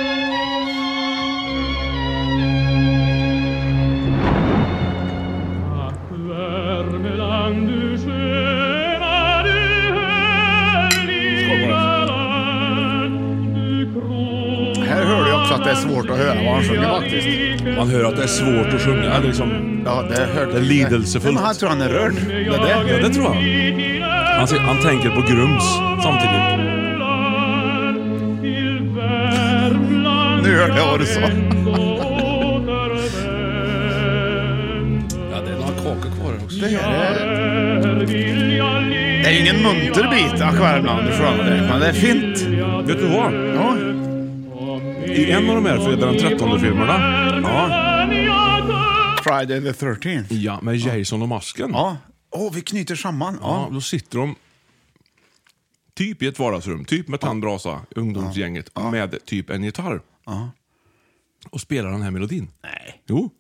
Speaker 12: Värmeland du sköna, du härliga land, du krona
Speaker 3: Här hörde jag också att det är svårt att höra vad han sjunger faktiskt.
Speaker 2: Man hör att det är svårt att sjunga. Det är liksom...
Speaker 3: Ja, det hörde
Speaker 2: Det är lidelsefullt.
Speaker 3: Nej, men han tror han är rörd. Det är det.
Speaker 2: Ja, det tror jag. Han, ser- han tänker på Grums samtidigt.
Speaker 12: till Värmland
Speaker 3: Nu hörde jag vad du sa.
Speaker 2: Ja, det är några kakor kvar också.
Speaker 3: Det här är-
Speaker 12: vill jag
Speaker 3: det är ingen munter bit, Ack Värmland, du får höra det. Men det är fint.
Speaker 2: Vet du vad?
Speaker 3: Ja.
Speaker 2: I en av de här Fredag den 13-filmerna. Ja.
Speaker 3: Friday the 13th.
Speaker 2: ja, med Jason och masken.
Speaker 3: Ja. Åh, vi knyter samman.
Speaker 2: Mm. Ja,
Speaker 3: Ja.
Speaker 2: då sitter de typ i ett vardagsrum, typ med tandbrasa, ungdomsgänget, med typ en gitarr. Och spelar den här melodin.
Speaker 3: Nej.
Speaker 2: Jo,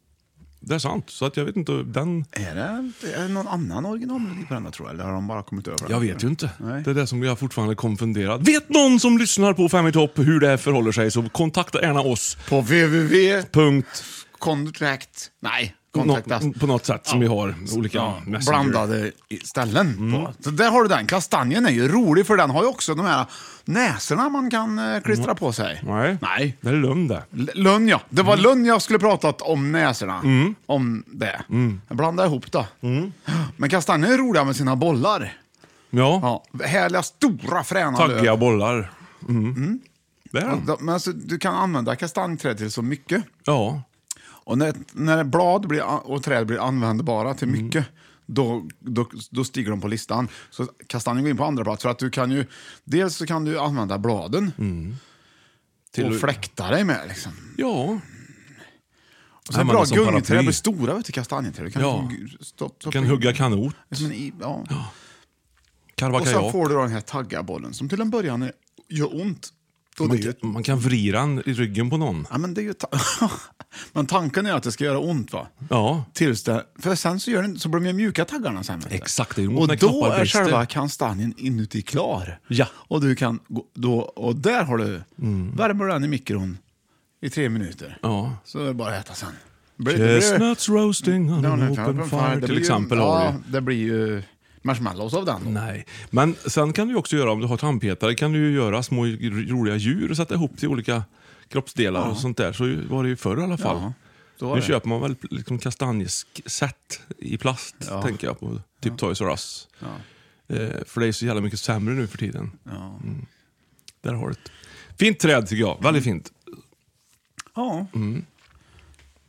Speaker 2: det är sant. Så att jag vet inte, den...
Speaker 3: Är det, är det någon annan originalmelodi på den här, tror jag? Eller har de bara kommit över den?
Speaker 2: Jag vet ju inte.
Speaker 3: Nej.
Speaker 2: Det är det som jag fortfarande är konfunderad. Vet någon som lyssnar på Fem i topp hur det här förhåller sig så kontakta gärna oss.
Speaker 3: På www...
Speaker 2: Punkt.
Speaker 3: Contract... Nej. kontaktas.
Speaker 2: Nå- på något sätt som vi har olika messenger. Mm.
Speaker 3: Blandade i- ställen. På. Så där har du den. Kastanjen är ju rolig för den har ju också de här näsorna man kan eh, klistra
Speaker 2: Mm.
Speaker 3: på sig.
Speaker 2: Nej.
Speaker 3: Nej.
Speaker 2: Det är lönn det.
Speaker 3: L- Lönn ja. Det
Speaker 2: Mm.
Speaker 3: var lönn jag skulle pratat om näsorna. Om det.
Speaker 2: Mm.
Speaker 3: Jag blandade ihop det. Men kastanjer är roliga med sina bollar.
Speaker 2: Ja.
Speaker 3: Härliga, stora, fräna
Speaker 2: Taggiga
Speaker 3: löv.
Speaker 2: bollar. Mm. Det är den.
Speaker 3: Och de- Men alltså, du kan använda kastanjträd till så mycket.
Speaker 2: Ja.
Speaker 3: Och när, när blad blir, a- och träd blir användbara till
Speaker 2: Mm.
Speaker 3: mycket, då, då, då stiger de på listan. Så kastanjen går in på andra plats för att du kan ju, dels så kan du använda bladen
Speaker 2: Mm. Till
Speaker 3: och
Speaker 2: att-
Speaker 3: fläkta dig med. Liksom.
Speaker 2: Ja.
Speaker 3: Och sen
Speaker 2: Använda
Speaker 3: bra
Speaker 2: som
Speaker 3: gungträd
Speaker 2: paraply.
Speaker 3: blir stora, vet du, kastanjeträd. Du kan,
Speaker 2: Ja.
Speaker 3: liksom gu- stopp,
Speaker 2: Du
Speaker 3: stoppa
Speaker 2: kan
Speaker 3: in-
Speaker 2: hugga kanot,
Speaker 3: liksom en i- ja.
Speaker 2: karva
Speaker 3: Och sen
Speaker 2: kajak.
Speaker 3: får du då den här taggabollen som till en början är, gör ont. Och det är
Speaker 2: Man,
Speaker 3: ju ett
Speaker 2: kan- man kan vrida den i ryggen på någon.
Speaker 3: Ja, men, det är ju ta- men tanken är att det ska göra ont va?
Speaker 2: Ja.
Speaker 3: Tills det, för sen så, gör den, så blir de ju mjuka taggarna sen. vet du.
Speaker 2: Exakt, det är ju
Speaker 3: Och
Speaker 2: när
Speaker 3: då
Speaker 2: knoppar
Speaker 3: är
Speaker 2: brister.
Speaker 3: själva kastanjen inuti klar.
Speaker 2: Ja. Mm.
Speaker 3: Och, du kan gå, då, och där har du, värmer du den i mikron i tre minuter.
Speaker 2: Ja.
Speaker 3: Så är det bara att äta sen.
Speaker 2: Chestnuts roasting on
Speaker 3: Ja,
Speaker 2: an
Speaker 3: nu kan-
Speaker 2: open
Speaker 3: fan, det
Speaker 2: fire
Speaker 3: blir
Speaker 2: till
Speaker 3: ju-
Speaker 2: exempel. har
Speaker 3: Ja,
Speaker 2: du.
Speaker 3: det blir ju marshmallows av den. då.
Speaker 2: Nej. Men sen kan du ju också göra, om du har tandpetare, kan du ju göra små roliga djur och sätta ihop till olika kroppsdelar och sånt där. Så var det ju förr i alla fall.
Speaker 3: Ja, så var
Speaker 2: Nu
Speaker 3: det.
Speaker 2: köper man väl liksom kastanjeset i plast,
Speaker 3: Ja.
Speaker 2: tänker jag på. Typ Toys R Us.
Speaker 3: Ja.
Speaker 2: Eh, för det är så jävla mycket sämre nu för tiden. Mm. Där har du ett. Fint träd tycker jag. Väldigt
Speaker 3: Mm.
Speaker 2: fint.
Speaker 3: Ja.
Speaker 2: Mm.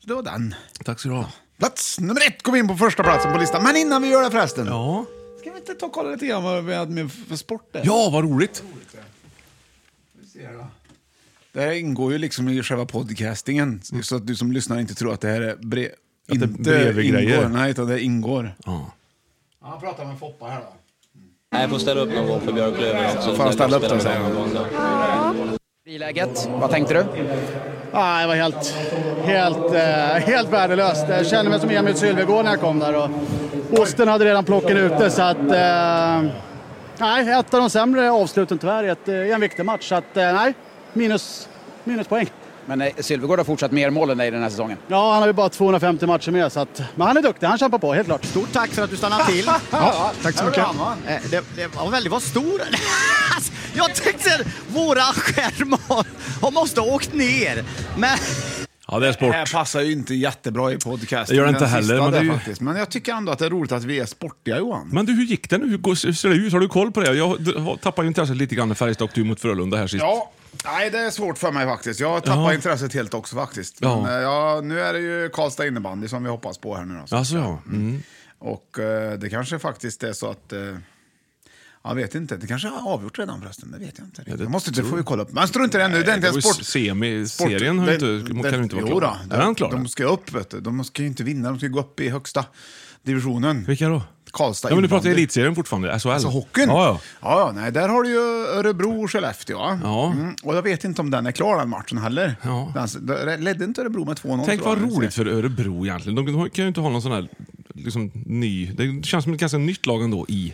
Speaker 3: Det var den.
Speaker 2: Tack så du ha.
Speaker 3: Plats nummer ett kom in på första platsen på listan. Men innan vi gör det förresten.
Speaker 2: Ja.
Speaker 3: Ska vi inte ta och kolla lite grann vad vi hade med för sport där?
Speaker 2: ja, vad roligt.
Speaker 3: Det här ingår ju liksom i själva podcastingen, så att du som lyssnar inte tror att det här är bre-
Speaker 2: Att det
Speaker 3: inte
Speaker 2: är bredvid
Speaker 3: ingår.
Speaker 2: grejer.
Speaker 3: Nej, utan det ingår.
Speaker 2: Ja.
Speaker 3: Han pratar med Foppa här då.
Speaker 6: Nej, jag får ställa upp någon gång för Björklöven också.
Speaker 3: Får han ställa upp då, säger han.
Speaker 13: Friläget, vad tänkte du?
Speaker 7: Nej, det var helt, helt, eh, helt värdelöst. Jag kände mig som Emil Sylvegård när jag kom där. Och osten hade redan plocken ute så att... Eh, nej, ett av de sämre avsluten tyvärr i ett, eh, i en viktig match. Så att eh, nej, minus, minuspoäng.
Speaker 13: Men eh, Sylvegård har fortsatt mer mål än dig den här säsongen.
Speaker 7: Ja, han har ju bara 250 matcher mer så att... Men han är duktig, han kämpar på helt klart. Stort tack för att du
Speaker 14: stanna till.
Speaker 7: Ja, tack så mycket.
Speaker 14: Eh, Det, det var väldigt vad stor. Alltså, Jag tänkte våra skärmar har måste ha åkt ner. Men
Speaker 2: Ja, det är sport.
Speaker 3: Det här passar ju inte jättebra i podcast.
Speaker 2: Det gör det inte heller, men
Speaker 3: Men,
Speaker 2: det är ju-
Speaker 3: faktiskt. men jag tycker ändå att det är roligt att vi är sportiga Johan.
Speaker 2: Men du, hur gick det nu? Hur går- hur ser det ut? Har du koll på det? Jag d- har- tappade ju intresset lite grann när Färjestad åkte ur mot Frölunda här sist.
Speaker 3: Ja, nej det är svårt för mig faktiskt. Jag tappar
Speaker 2: Ja.
Speaker 3: intresset helt också faktiskt. Men
Speaker 2: Ja.
Speaker 3: ja. Ja, nu är det ju Karlstad innebandy som vi hoppas på här nu då.
Speaker 2: Alltså, ja. Mm.
Speaker 3: Och eh, det kanske faktiskt är så att... Eh, jag vet inte, det kanske är avgjort redan förresten. Det vet jag inte. riktigt.
Speaker 2: det
Speaker 3: jag måste, det
Speaker 2: tror
Speaker 3: får vi
Speaker 2: jag.
Speaker 3: kolla upp. Men strunt inte det nu, det är inte en
Speaker 2: var ju
Speaker 3: sport...
Speaker 2: semi-
Speaker 3: sport-
Speaker 2: serien har ju
Speaker 3: det-
Speaker 2: inte- kan ju inte vara
Speaker 3: jo
Speaker 2: klar.
Speaker 3: Då,
Speaker 2: Är den klar?
Speaker 3: De ska upp, vet du. De ska ju inte vinna, de ska ju gå upp i högsta divisionen.
Speaker 2: Vilka då?
Speaker 3: Karlstad
Speaker 2: Ja, men du pratar
Speaker 3: innebandy.
Speaker 2: elitserien fortfarande, SHL.
Speaker 3: Alltså hockeyn?
Speaker 2: Ja, ja.
Speaker 3: ja, ja, nej, där har du ju Örebro och Skellefteå. va?
Speaker 2: Ja.
Speaker 3: Mm, och jag vet inte om den är klar den matchen heller.
Speaker 2: Ja.
Speaker 3: Den, det ledde inte Örebro med 2-0?
Speaker 2: Tänk
Speaker 3: tror
Speaker 2: vad
Speaker 3: jag.
Speaker 2: roligt för Örebro egentligen. De kan ju inte ha någon sån här liksom, ny... Det känns som ett ganska nytt lag ändå i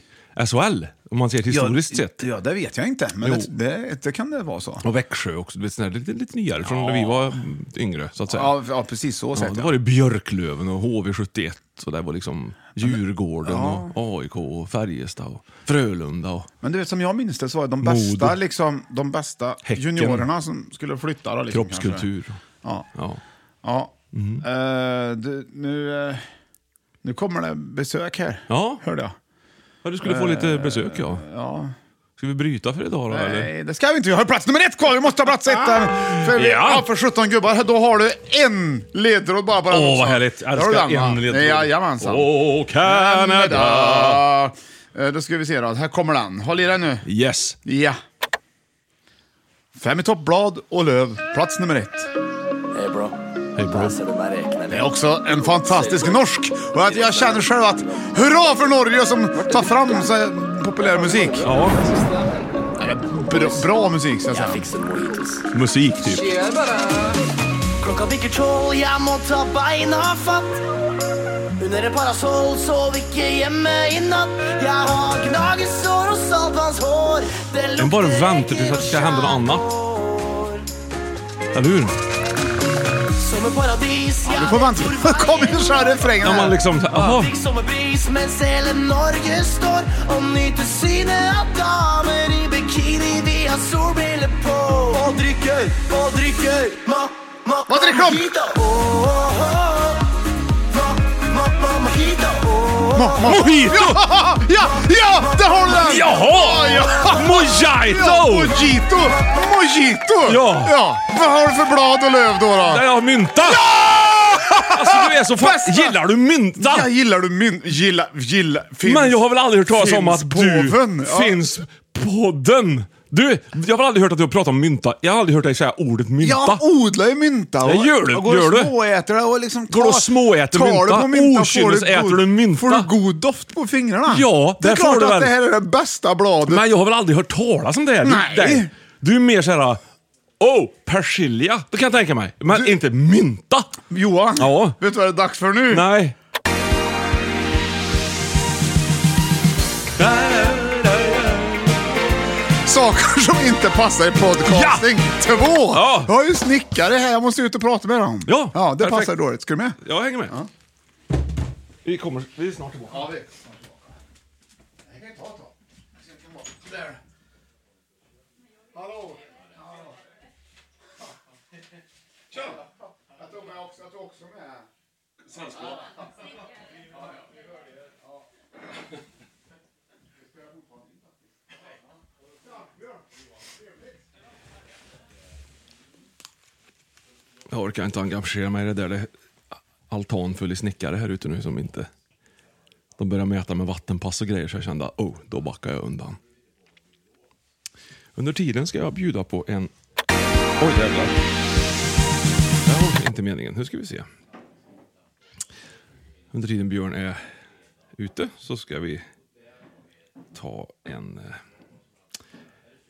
Speaker 2: SHL, om man ser det historiskt
Speaker 3: ja,
Speaker 2: sett.
Speaker 3: Ja, det vet jag inte. Men
Speaker 2: Jo.
Speaker 3: det, det, det kan det vara så.
Speaker 2: Och Växjö också, du vet, sån här, lite, lite nyare från när vi var yngre, så att säga.
Speaker 3: Ja, ja precis så
Speaker 2: Ja,
Speaker 3: sett.
Speaker 2: då
Speaker 3: Ja.
Speaker 2: var det Björklöven och HV71 och det var liksom Djurgården och AIK och Färjestad och Frölunda. Och,
Speaker 3: Men du vet, som jag minns det så var det de
Speaker 2: Mod.
Speaker 3: bästa, liksom, de bästa
Speaker 2: Häcken.
Speaker 3: juniorerna som skulle flytta. Då, liksom,
Speaker 2: Kroppskultur. Mhm.
Speaker 3: Kanske. Ja.
Speaker 2: ja.
Speaker 3: ja. Eh, du, nu, eh, nu kommer det besök här,
Speaker 2: Ja.
Speaker 3: hörde jag.
Speaker 2: ja, du skulle få lite besök ja.
Speaker 3: Ja.
Speaker 2: Ska vi bryta för idag då eller?
Speaker 3: Eh, Nej, det ska vi inte. Vi har plats nummer ett kvar. Vi måste ha plats ett där. För, vi,
Speaker 2: Ja.
Speaker 3: ja. för 17 gubbar, då har du en ledtråd bara på den
Speaker 2: Åh
Speaker 3: också.
Speaker 2: vad härligt!
Speaker 3: Där har du
Speaker 2: Älskar
Speaker 3: den, va?
Speaker 2: en ledtråd.
Speaker 3: Jajamensan.
Speaker 2: Åh Canada!
Speaker 3: Canada. Eh, Då ska vi se då. Här kommer den. Håll i den nu.
Speaker 2: Yes.
Speaker 3: Ja. Fem i topp, blad och löv. Plats nummer ett.
Speaker 15: Hej bro. Alltså,
Speaker 2: Hej bro.
Speaker 3: Det är också en fantastisk norsk. Och att jag känner själv att hurra för Norge som tar fram så här populär musik.
Speaker 2: Ja.
Speaker 3: Bra, bra musik, ska jag säga.
Speaker 2: Musik typ.
Speaker 15: Klokka bikker tolv, jeg må ta beina fatt. Under et parasoll sov ikke hjemme i natt. Jeg har gnagesår og saltvannshår. Det
Speaker 2: Den bara väntar tills att det ska hända något annat. Eller hur?
Speaker 15: Så kommer paradis
Speaker 3: Ja, nu får man inte... Kom in och kör refrängen
Speaker 2: När man
Speaker 3: här.
Speaker 2: liksom... Jaha.
Speaker 15: Fikk sommerbris mens hele Norge står og nyter synet av damer i bikini. Vi har solbriller på og drikker og drikker ma, ma,
Speaker 3: Hva drikker de?
Speaker 15: mojito.
Speaker 16: oh,
Speaker 15: Åh, åh, åh. Ma, ma, ma, mojito.
Speaker 16: oh.
Speaker 15: Åh, åh, åh.
Speaker 2: Mojito!
Speaker 3: Ja, ja, ja, där har du den!
Speaker 2: Jaha!
Speaker 3: Ja, ja.
Speaker 2: Mojito!
Speaker 3: Ja, mojito! Mojito!
Speaker 2: Ja.
Speaker 3: ja! Vad har du för blad och löv då? då?
Speaker 2: Där jag har mynta! Alltså du är så fan... Gillar du mynta?
Speaker 3: Ja, gillar du mynt? Gilla, gilla, finns,
Speaker 2: Men jag har väl aldrig hört talas om
Speaker 3: finns
Speaker 2: att du
Speaker 3: påven? Ja.
Speaker 2: finns podden. Du, jag har väl aldrig hört att du har pratat om mynta. Jag har aldrig hört dig säga ordet mynta.
Speaker 3: Jag odlar ju mynta.
Speaker 2: Det gör du,
Speaker 3: Jag går
Speaker 2: gör
Speaker 3: och
Speaker 2: du.
Speaker 3: småäter det och liksom
Speaker 2: Går du och
Speaker 3: tar-
Speaker 2: småäter
Speaker 3: tar
Speaker 2: mynta?
Speaker 3: det på mynta
Speaker 2: Okynnes
Speaker 3: får
Speaker 2: äter
Speaker 3: god-
Speaker 2: du mynta.
Speaker 3: Får du god doft på fingrarna?
Speaker 2: Ja,
Speaker 3: det
Speaker 2: där
Speaker 3: är
Speaker 2: får
Speaker 3: klart
Speaker 2: du
Speaker 3: att
Speaker 2: väl.
Speaker 3: det här är det bästa bladet.
Speaker 2: Men jag har väl aldrig hört talas om det här? Du-
Speaker 3: Nej.
Speaker 2: dig. Du är mer såhär... Oh, persilja. Det kan jag tänka mig. Men inte mynta.
Speaker 3: Johan,
Speaker 2: Ja.
Speaker 3: vet du vad det är dags för nu?
Speaker 2: Nej.
Speaker 3: Saker som inte passar i podcasting. Två!
Speaker 2: Ja.
Speaker 3: Jag har ju snickare här, jag måste ut och prata med dem.
Speaker 2: Ja,
Speaker 3: ja det
Speaker 2: perfekt.
Speaker 3: passar dåligt. Ska du med?
Speaker 2: Jag hänger med. Vi kommer... Vi är snart tillbaka.
Speaker 3: Ja, vi
Speaker 2: Jag orkar inte engagera mig i det där. Det är altan full i snickare här ute nu som inte... De börjar mäta med vattenpass och grejer så jag kände oh, då backar jag undan. Under tiden ska jag bjuda på en... Oj jävlar. Det här var inte meningen. Nu ska vi se. Under tiden Björn är ute så ska vi ta en... eh,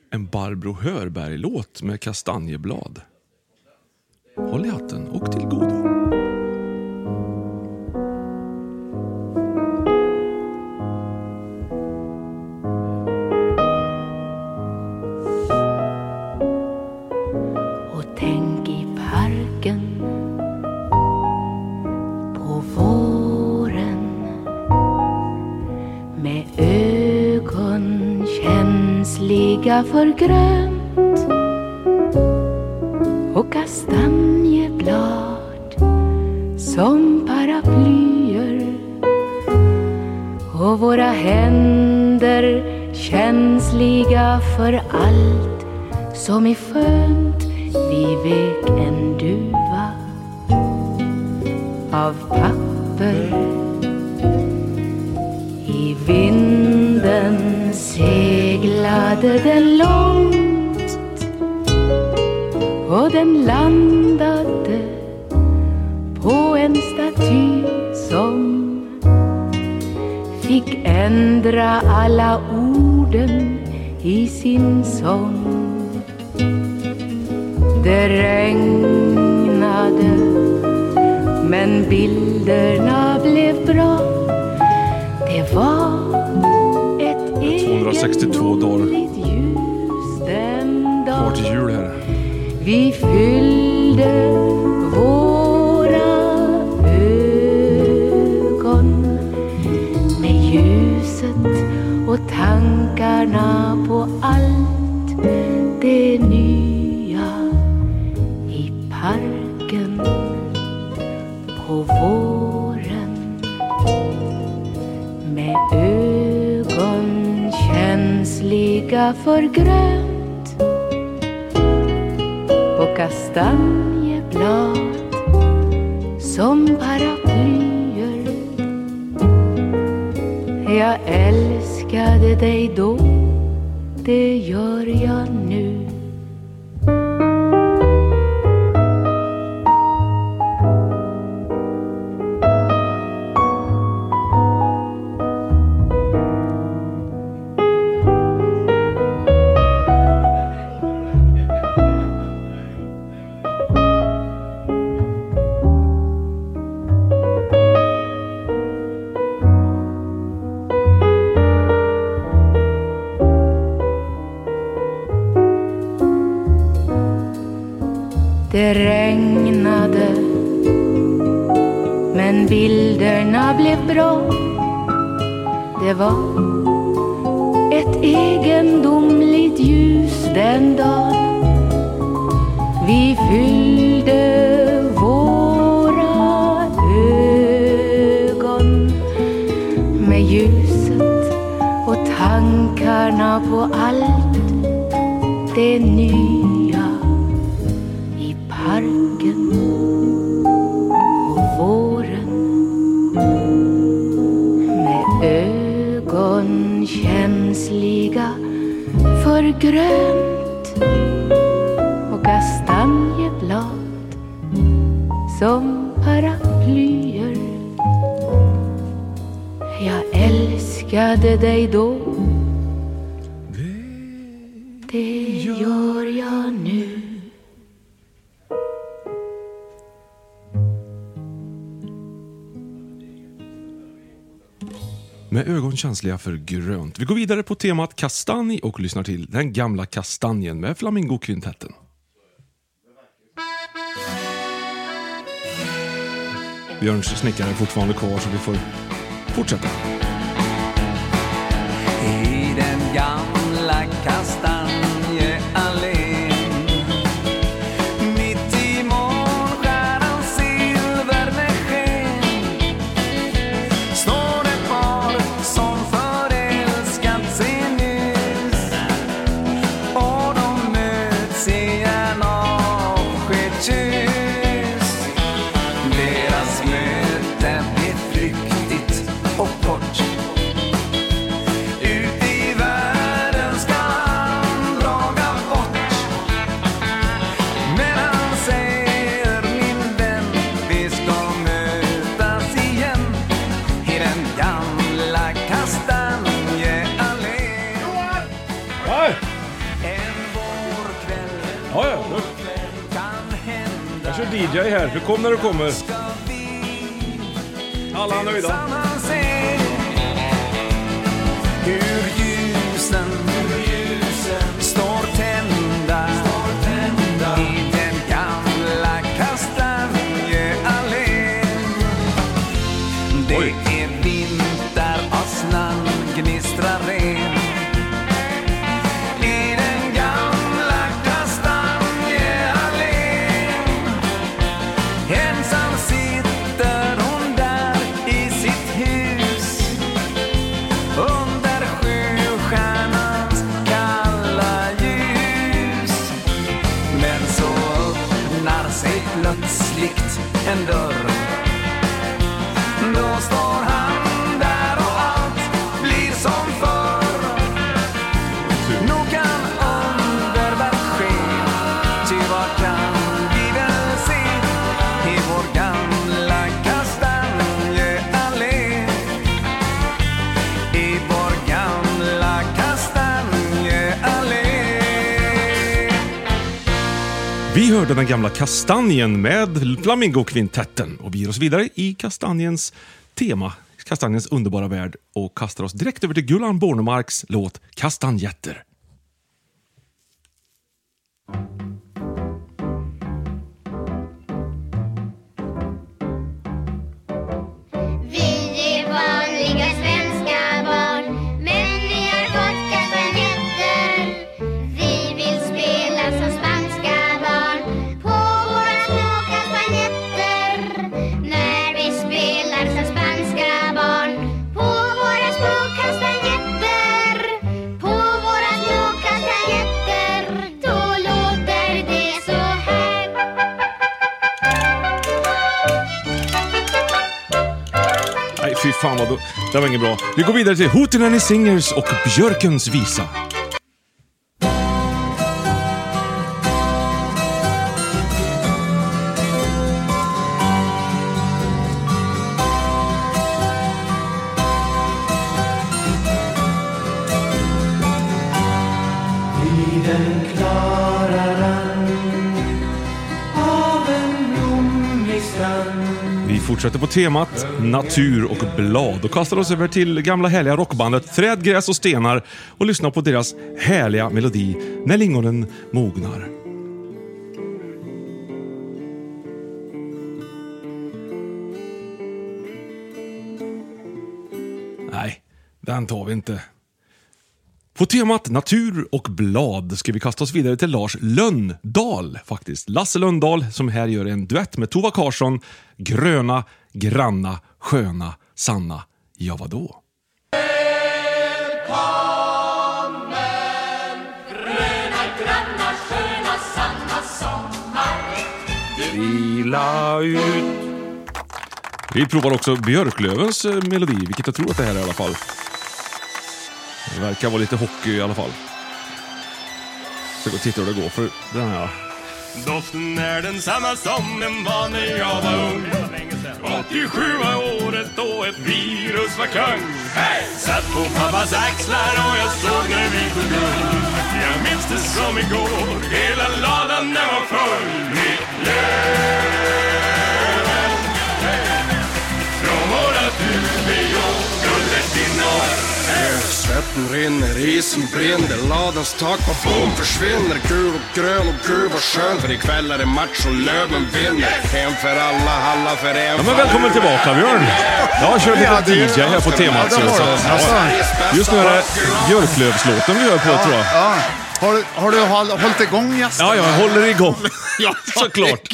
Speaker 2: En Barbro Hörberg-låt med kastanjeblad. Håll i hatten och till godo.
Speaker 16: Och tänk i parken på våren med ögon känsliga för grönt och kastanjeblad som paraplyer och våra händer känsliga för allt som är skönt Vi vek en duva av papper I vinden seglade den långt och den landade på en staty som fick ändra alla orden i sin sång. Det regnade men bilderna blev bra. Det var ett
Speaker 2: 262 dagar
Speaker 16: egendomligt ljus den
Speaker 2: kvar
Speaker 16: dagen.
Speaker 2: till jul här.
Speaker 16: Vi fyllde våra ögon med ljuset och tankarna på allt det nya i parken på våren med ögon känsliga för grönt och kastanjeblad som paraplyer. Jag älskade dig då, det gör jag nu. Det regnade bilderna blev bra. Det var ett egendomligt ljus den dagen. Vi fyllde våra ögon med ljuset och tankarna på allt det nya i parken och våren. Med ögon känsliga för grönt och kastanjeblad som paraplyer. Jag älskade dig då det gör jag nu.
Speaker 2: Med ögon känsliga för grönt. Vi går vidare på temat kastanj och lyssnar till Den gamla kastanjen med Flamingokvintetten. Björns snickare är fortfarande kvar så vi får fortsätta.
Speaker 4: I den gamla kastanjeallén Mitt i månstjärnans silvernäsken Står ett par som förälskat sig nyss Och de möts i en avskedskyss Deras möte blir flyktigt och kort ut i världen ska han laga bort. Men han säger min vän, vi ska mötas igen i den gamla kastanjeallén.
Speaker 2: Ja, ja. nu. Jag kör DJ här, så kom när du kommer. Alla nöjda.
Speaker 4: Man ser hur ljusen står tända i den gamla kastanjeallén. Det är vinter och snön gnistrar ren. I den gamla kastanjeallén Ensam sitter hon där i sitt hus under sjustjärnans kalla ljus. Men så öppnar sig plötsligt en dörr. Då står han där och allt blir som förr. Nog kan underverk ske, ty vad kan vi väl se i vår gamla kastanjeallé? I vår gamla kastanjeallé.
Speaker 2: Vi hörde den gamla kastanjen med Flamingokvintetten och vi ger oss vidare i kastanjens tema, kastanjens underbara värld och kastar oss direkt över till Gullan Bornemarks låt Kastanjetter.
Speaker 17: Vi är vanliga svenska barn Men vi har fått kastanjetter Vi vill spela som spanska barn På våra små kastanjetter När vi spelar som spanska barn På våra små kastanjetter På våra små kastanjetter Då låter det så här
Speaker 2: Nej, fy fan vad då. Det var inget bra. Vi går vidare till Hootenanny Singers och Björkens visa.
Speaker 12: I den klara rand av en blommig strand
Speaker 2: Vi fortsätter på temat natur och blad och kastar oss över till gamla härliga rockbandet Träd, gräs och stenar och lyssnar på deras härliga melodi När lingonen mognar. Nej, den tar vi inte. På temat natur och blad ska vi kasta oss vidare till Lars Löndahl faktiskt. Lasse Löndahl som här gör en duett med Tova Karsson. Gröna, granna, sköna, sanna, ja vadå?
Speaker 16: Gröna, granna, sköna, sanna sommar
Speaker 2: Vila ut. Vi provar också Björklövens eh, melodi, vilket jag tror att det här är i alla fall. Det verkar vara lite hockey i alla fall. Ska gå och titta hur det går för den här.
Speaker 5: Doften är densamma som den var när jag var ung 87 var året då ett virus var kung Satt på pappas axlar och jag såg när vi tog guld Jag minns det som igår, hela ladan den var full Med löven Från våra huvudjobb, guldet i norr
Speaker 18: Svetten rinner, isen brinner, ladans tak på bom försvinner. Gul och grön och gud vad skönt för ikväll är det match och Löven vinner. En för alla, alla för en.
Speaker 2: Ja, men välkommen tillbaka Björn! Jag kör lite DJ här på temat. Så, så, att- ja. Just nu är det Björklövslåten vi hör på tror jag.
Speaker 3: Ja. Har, du- har du håll, hållit igång gästen?
Speaker 2: Ja, jag håller igång. ja, såklart.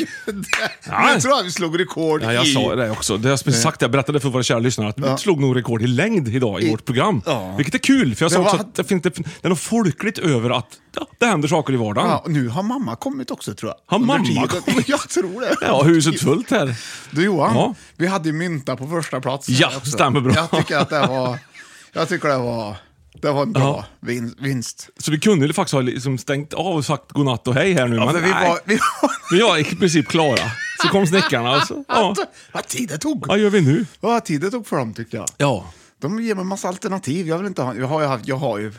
Speaker 3: Ja. Jag tror att vi slog rekord
Speaker 2: Ja, jag
Speaker 3: i...
Speaker 2: sa det också. Det har jag sagt, jag berättade för våra kära lyssnare att vi
Speaker 3: Ja.
Speaker 2: slog nog rekord i längd idag i,
Speaker 3: I-
Speaker 2: vårt program.
Speaker 3: Ja.
Speaker 2: Vilket är kul, för jag sa
Speaker 3: Det
Speaker 2: också
Speaker 3: var-
Speaker 2: att det, finns, det, det är något folkligt över att ja, det händer saker i vardagen.
Speaker 3: Ja, och nu har mamma kommit också tror jag.
Speaker 2: Har
Speaker 3: Under
Speaker 2: mamma
Speaker 3: tiden-
Speaker 2: kommit?
Speaker 3: Jag tror det.
Speaker 2: Ja, huset fullt här.
Speaker 3: Du Johan,
Speaker 2: Ja.
Speaker 3: vi hade ju mynta på första plats.
Speaker 2: Ja,
Speaker 3: också.
Speaker 2: stämmer bra.
Speaker 3: Jag tycker att det var... Jag tycker det var... Det var en bra vin- vinst.
Speaker 2: Så vi kunde ju faktiskt ha liksom stängt av och sagt godnatt och hej här nu,
Speaker 3: Ja,
Speaker 2: men
Speaker 3: men vi
Speaker 2: nej.
Speaker 3: var- vi
Speaker 2: Vi var i princip klara. Så kom snickarna och så, ja.
Speaker 3: Vad tid det tog!
Speaker 2: Vad gör vi nu?
Speaker 3: Vad tid det tog för dem tyckte jag.
Speaker 2: Ja.
Speaker 3: De ger mig en massa alternativ. Jag vill inte ha... Jag har ju haft... Jag har ju...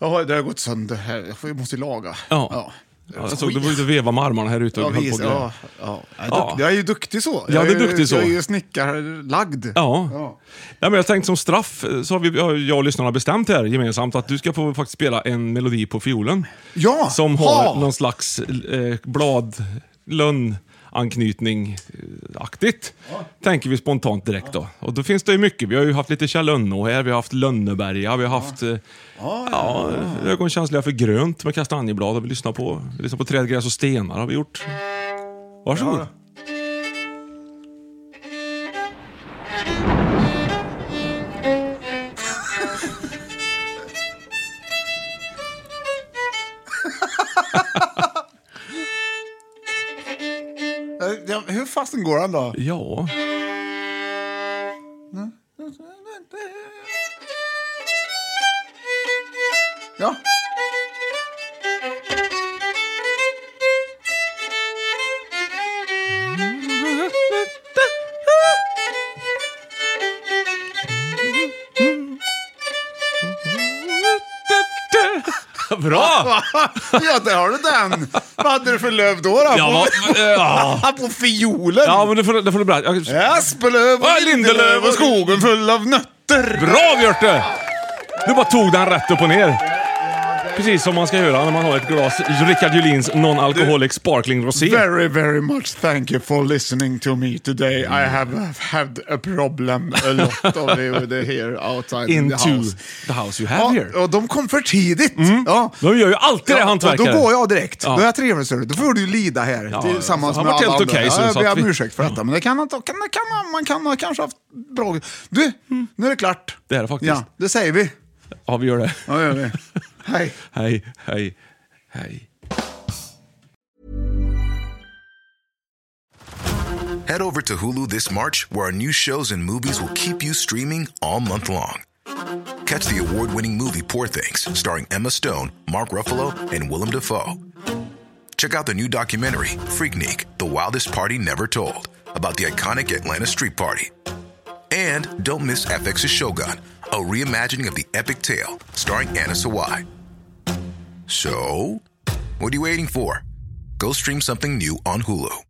Speaker 3: Jag har, det har gått sönder här. Jag får- jag måste ju laga.
Speaker 2: Ja. Ja, jag såg du var ute och vevade med armarna här ute och
Speaker 3: Ja,
Speaker 2: höll
Speaker 3: vis-
Speaker 2: på och
Speaker 3: ja,
Speaker 2: grejer.
Speaker 3: ja. Jag, är duktig, jag är
Speaker 2: Ja.
Speaker 3: ju duktig så.
Speaker 2: Ja,
Speaker 3: jag
Speaker 2: du är
Speaker 3: ju-
Speaker 2: duktig så.
Speaker 3: Jag är ju snickarlagd.
Speaker 2: Ja.
Speaker 3: Ja.
Speaker 2: Ja, men jag tänkte som straff eh, så har vi, har jag och lyssnarna bestämt här gemensamt att du ska få faktiskt spela en melodi på fiolen.
Speaker 3: Ja!
Speaker 2: Som har
Speaker 3: Ha!
Speaker 2: någon slags eh, blad, lönn anknytning eh, aktigt. Tänker vi spontant direkt då. Och då finns det ju mycket. Vi har ju haft lite Kjell Önnå här, vi har haft Lönneberga, vi har haft eh, ja, ögonkänsliga för grönt med kastanjeblad har vi lyssnat på. Vi lyssnar på träd, gräs och stenar har vi gjort. Varsågod.
Speaker 3: Eh, ja, Hur fasen går han då?
Speaker 2: Ja.
Speaker 3: Ja.
Speaker 2: Bra!
Speaker 3: ja, där har du den! Vad hade du för löv då? då? på,
Speaker 2: Ja, vad- ja.
Speaker 3: på fiolen?
Speaker 2: Ja, men det får, det får du berätta. Jag-
Speaker 3: Aspelöv
Speaker 2: Ja,
Speaker 3: och lindelöv och skogen full av nötter.
Speaker 2: Bra Björte! Du bara tog den rätt upp och ner. Precis som man ska göra när man har ett glas Rickard Julins Non-Alcoholic Sparkling Rosé.
Speaker 3: Very, very much thank you for listening to me today. I
Speaker 2: Mm.
Speaker 3: have had a problem a lot of you with here outside in the
Speaker 2: Into
Speaker 3: house.
Speaker 2: the house you
Speaker 3: Ja,
Speaker 2: have here. Mm.
Speaker 3: och de kom för tidigt. Ja.
Speaker 2: De gör ju alltid det,
Speaker 3: Ja,
Speaker 2: hantverkare.
Speaker 3: och Då går jag direkt.
Speaker 2: Ja.
Speaker 3: Då är jag trevlig. ser du. Då får du ju lida här
Speaker 2: Ja,
Speaker 3: tillsammans
Speaker 2: det har
Speaker 3: med
Speaker 2: varit
Speaker 3: alla
Speaker 2: helt
Speaker 3: andra.
Speaker 2: okej, så-
Speaker 3: ja, jag
Speaker 2: så att
Speaker 3: ber om
Speaker 2: vi-
Speaker 3: ursäkt för detta, men det kan, kan, kan, kan, man kan ha kanske haft bra... Du, nu är det klart.
Speaker 2: Det är det faktiskt.
Speaker 3: Ja, det säger vi.
Speaker 2: Ja, vi gör det.
Speaker 3: Ja, det gör vi. Hej.
Speaker 2: Hej, hej, hej.
Speaker 19: Head over to Hulu this March, where our new shows and movies will keep you streaming all month long. Catch the award winning movie Poor Things, starring Emma Stone, Mark Ruffalo, and Willem Dafoe. Check out the new documentary, Freaknik The Wildest Party Never Told, about the iconic Atlanta Street Party. And don't miss FX's Shogun, a reimagining of the epic tale, starring Anna Sawai. So, what are you waiting for? Go stream something new on Hulu.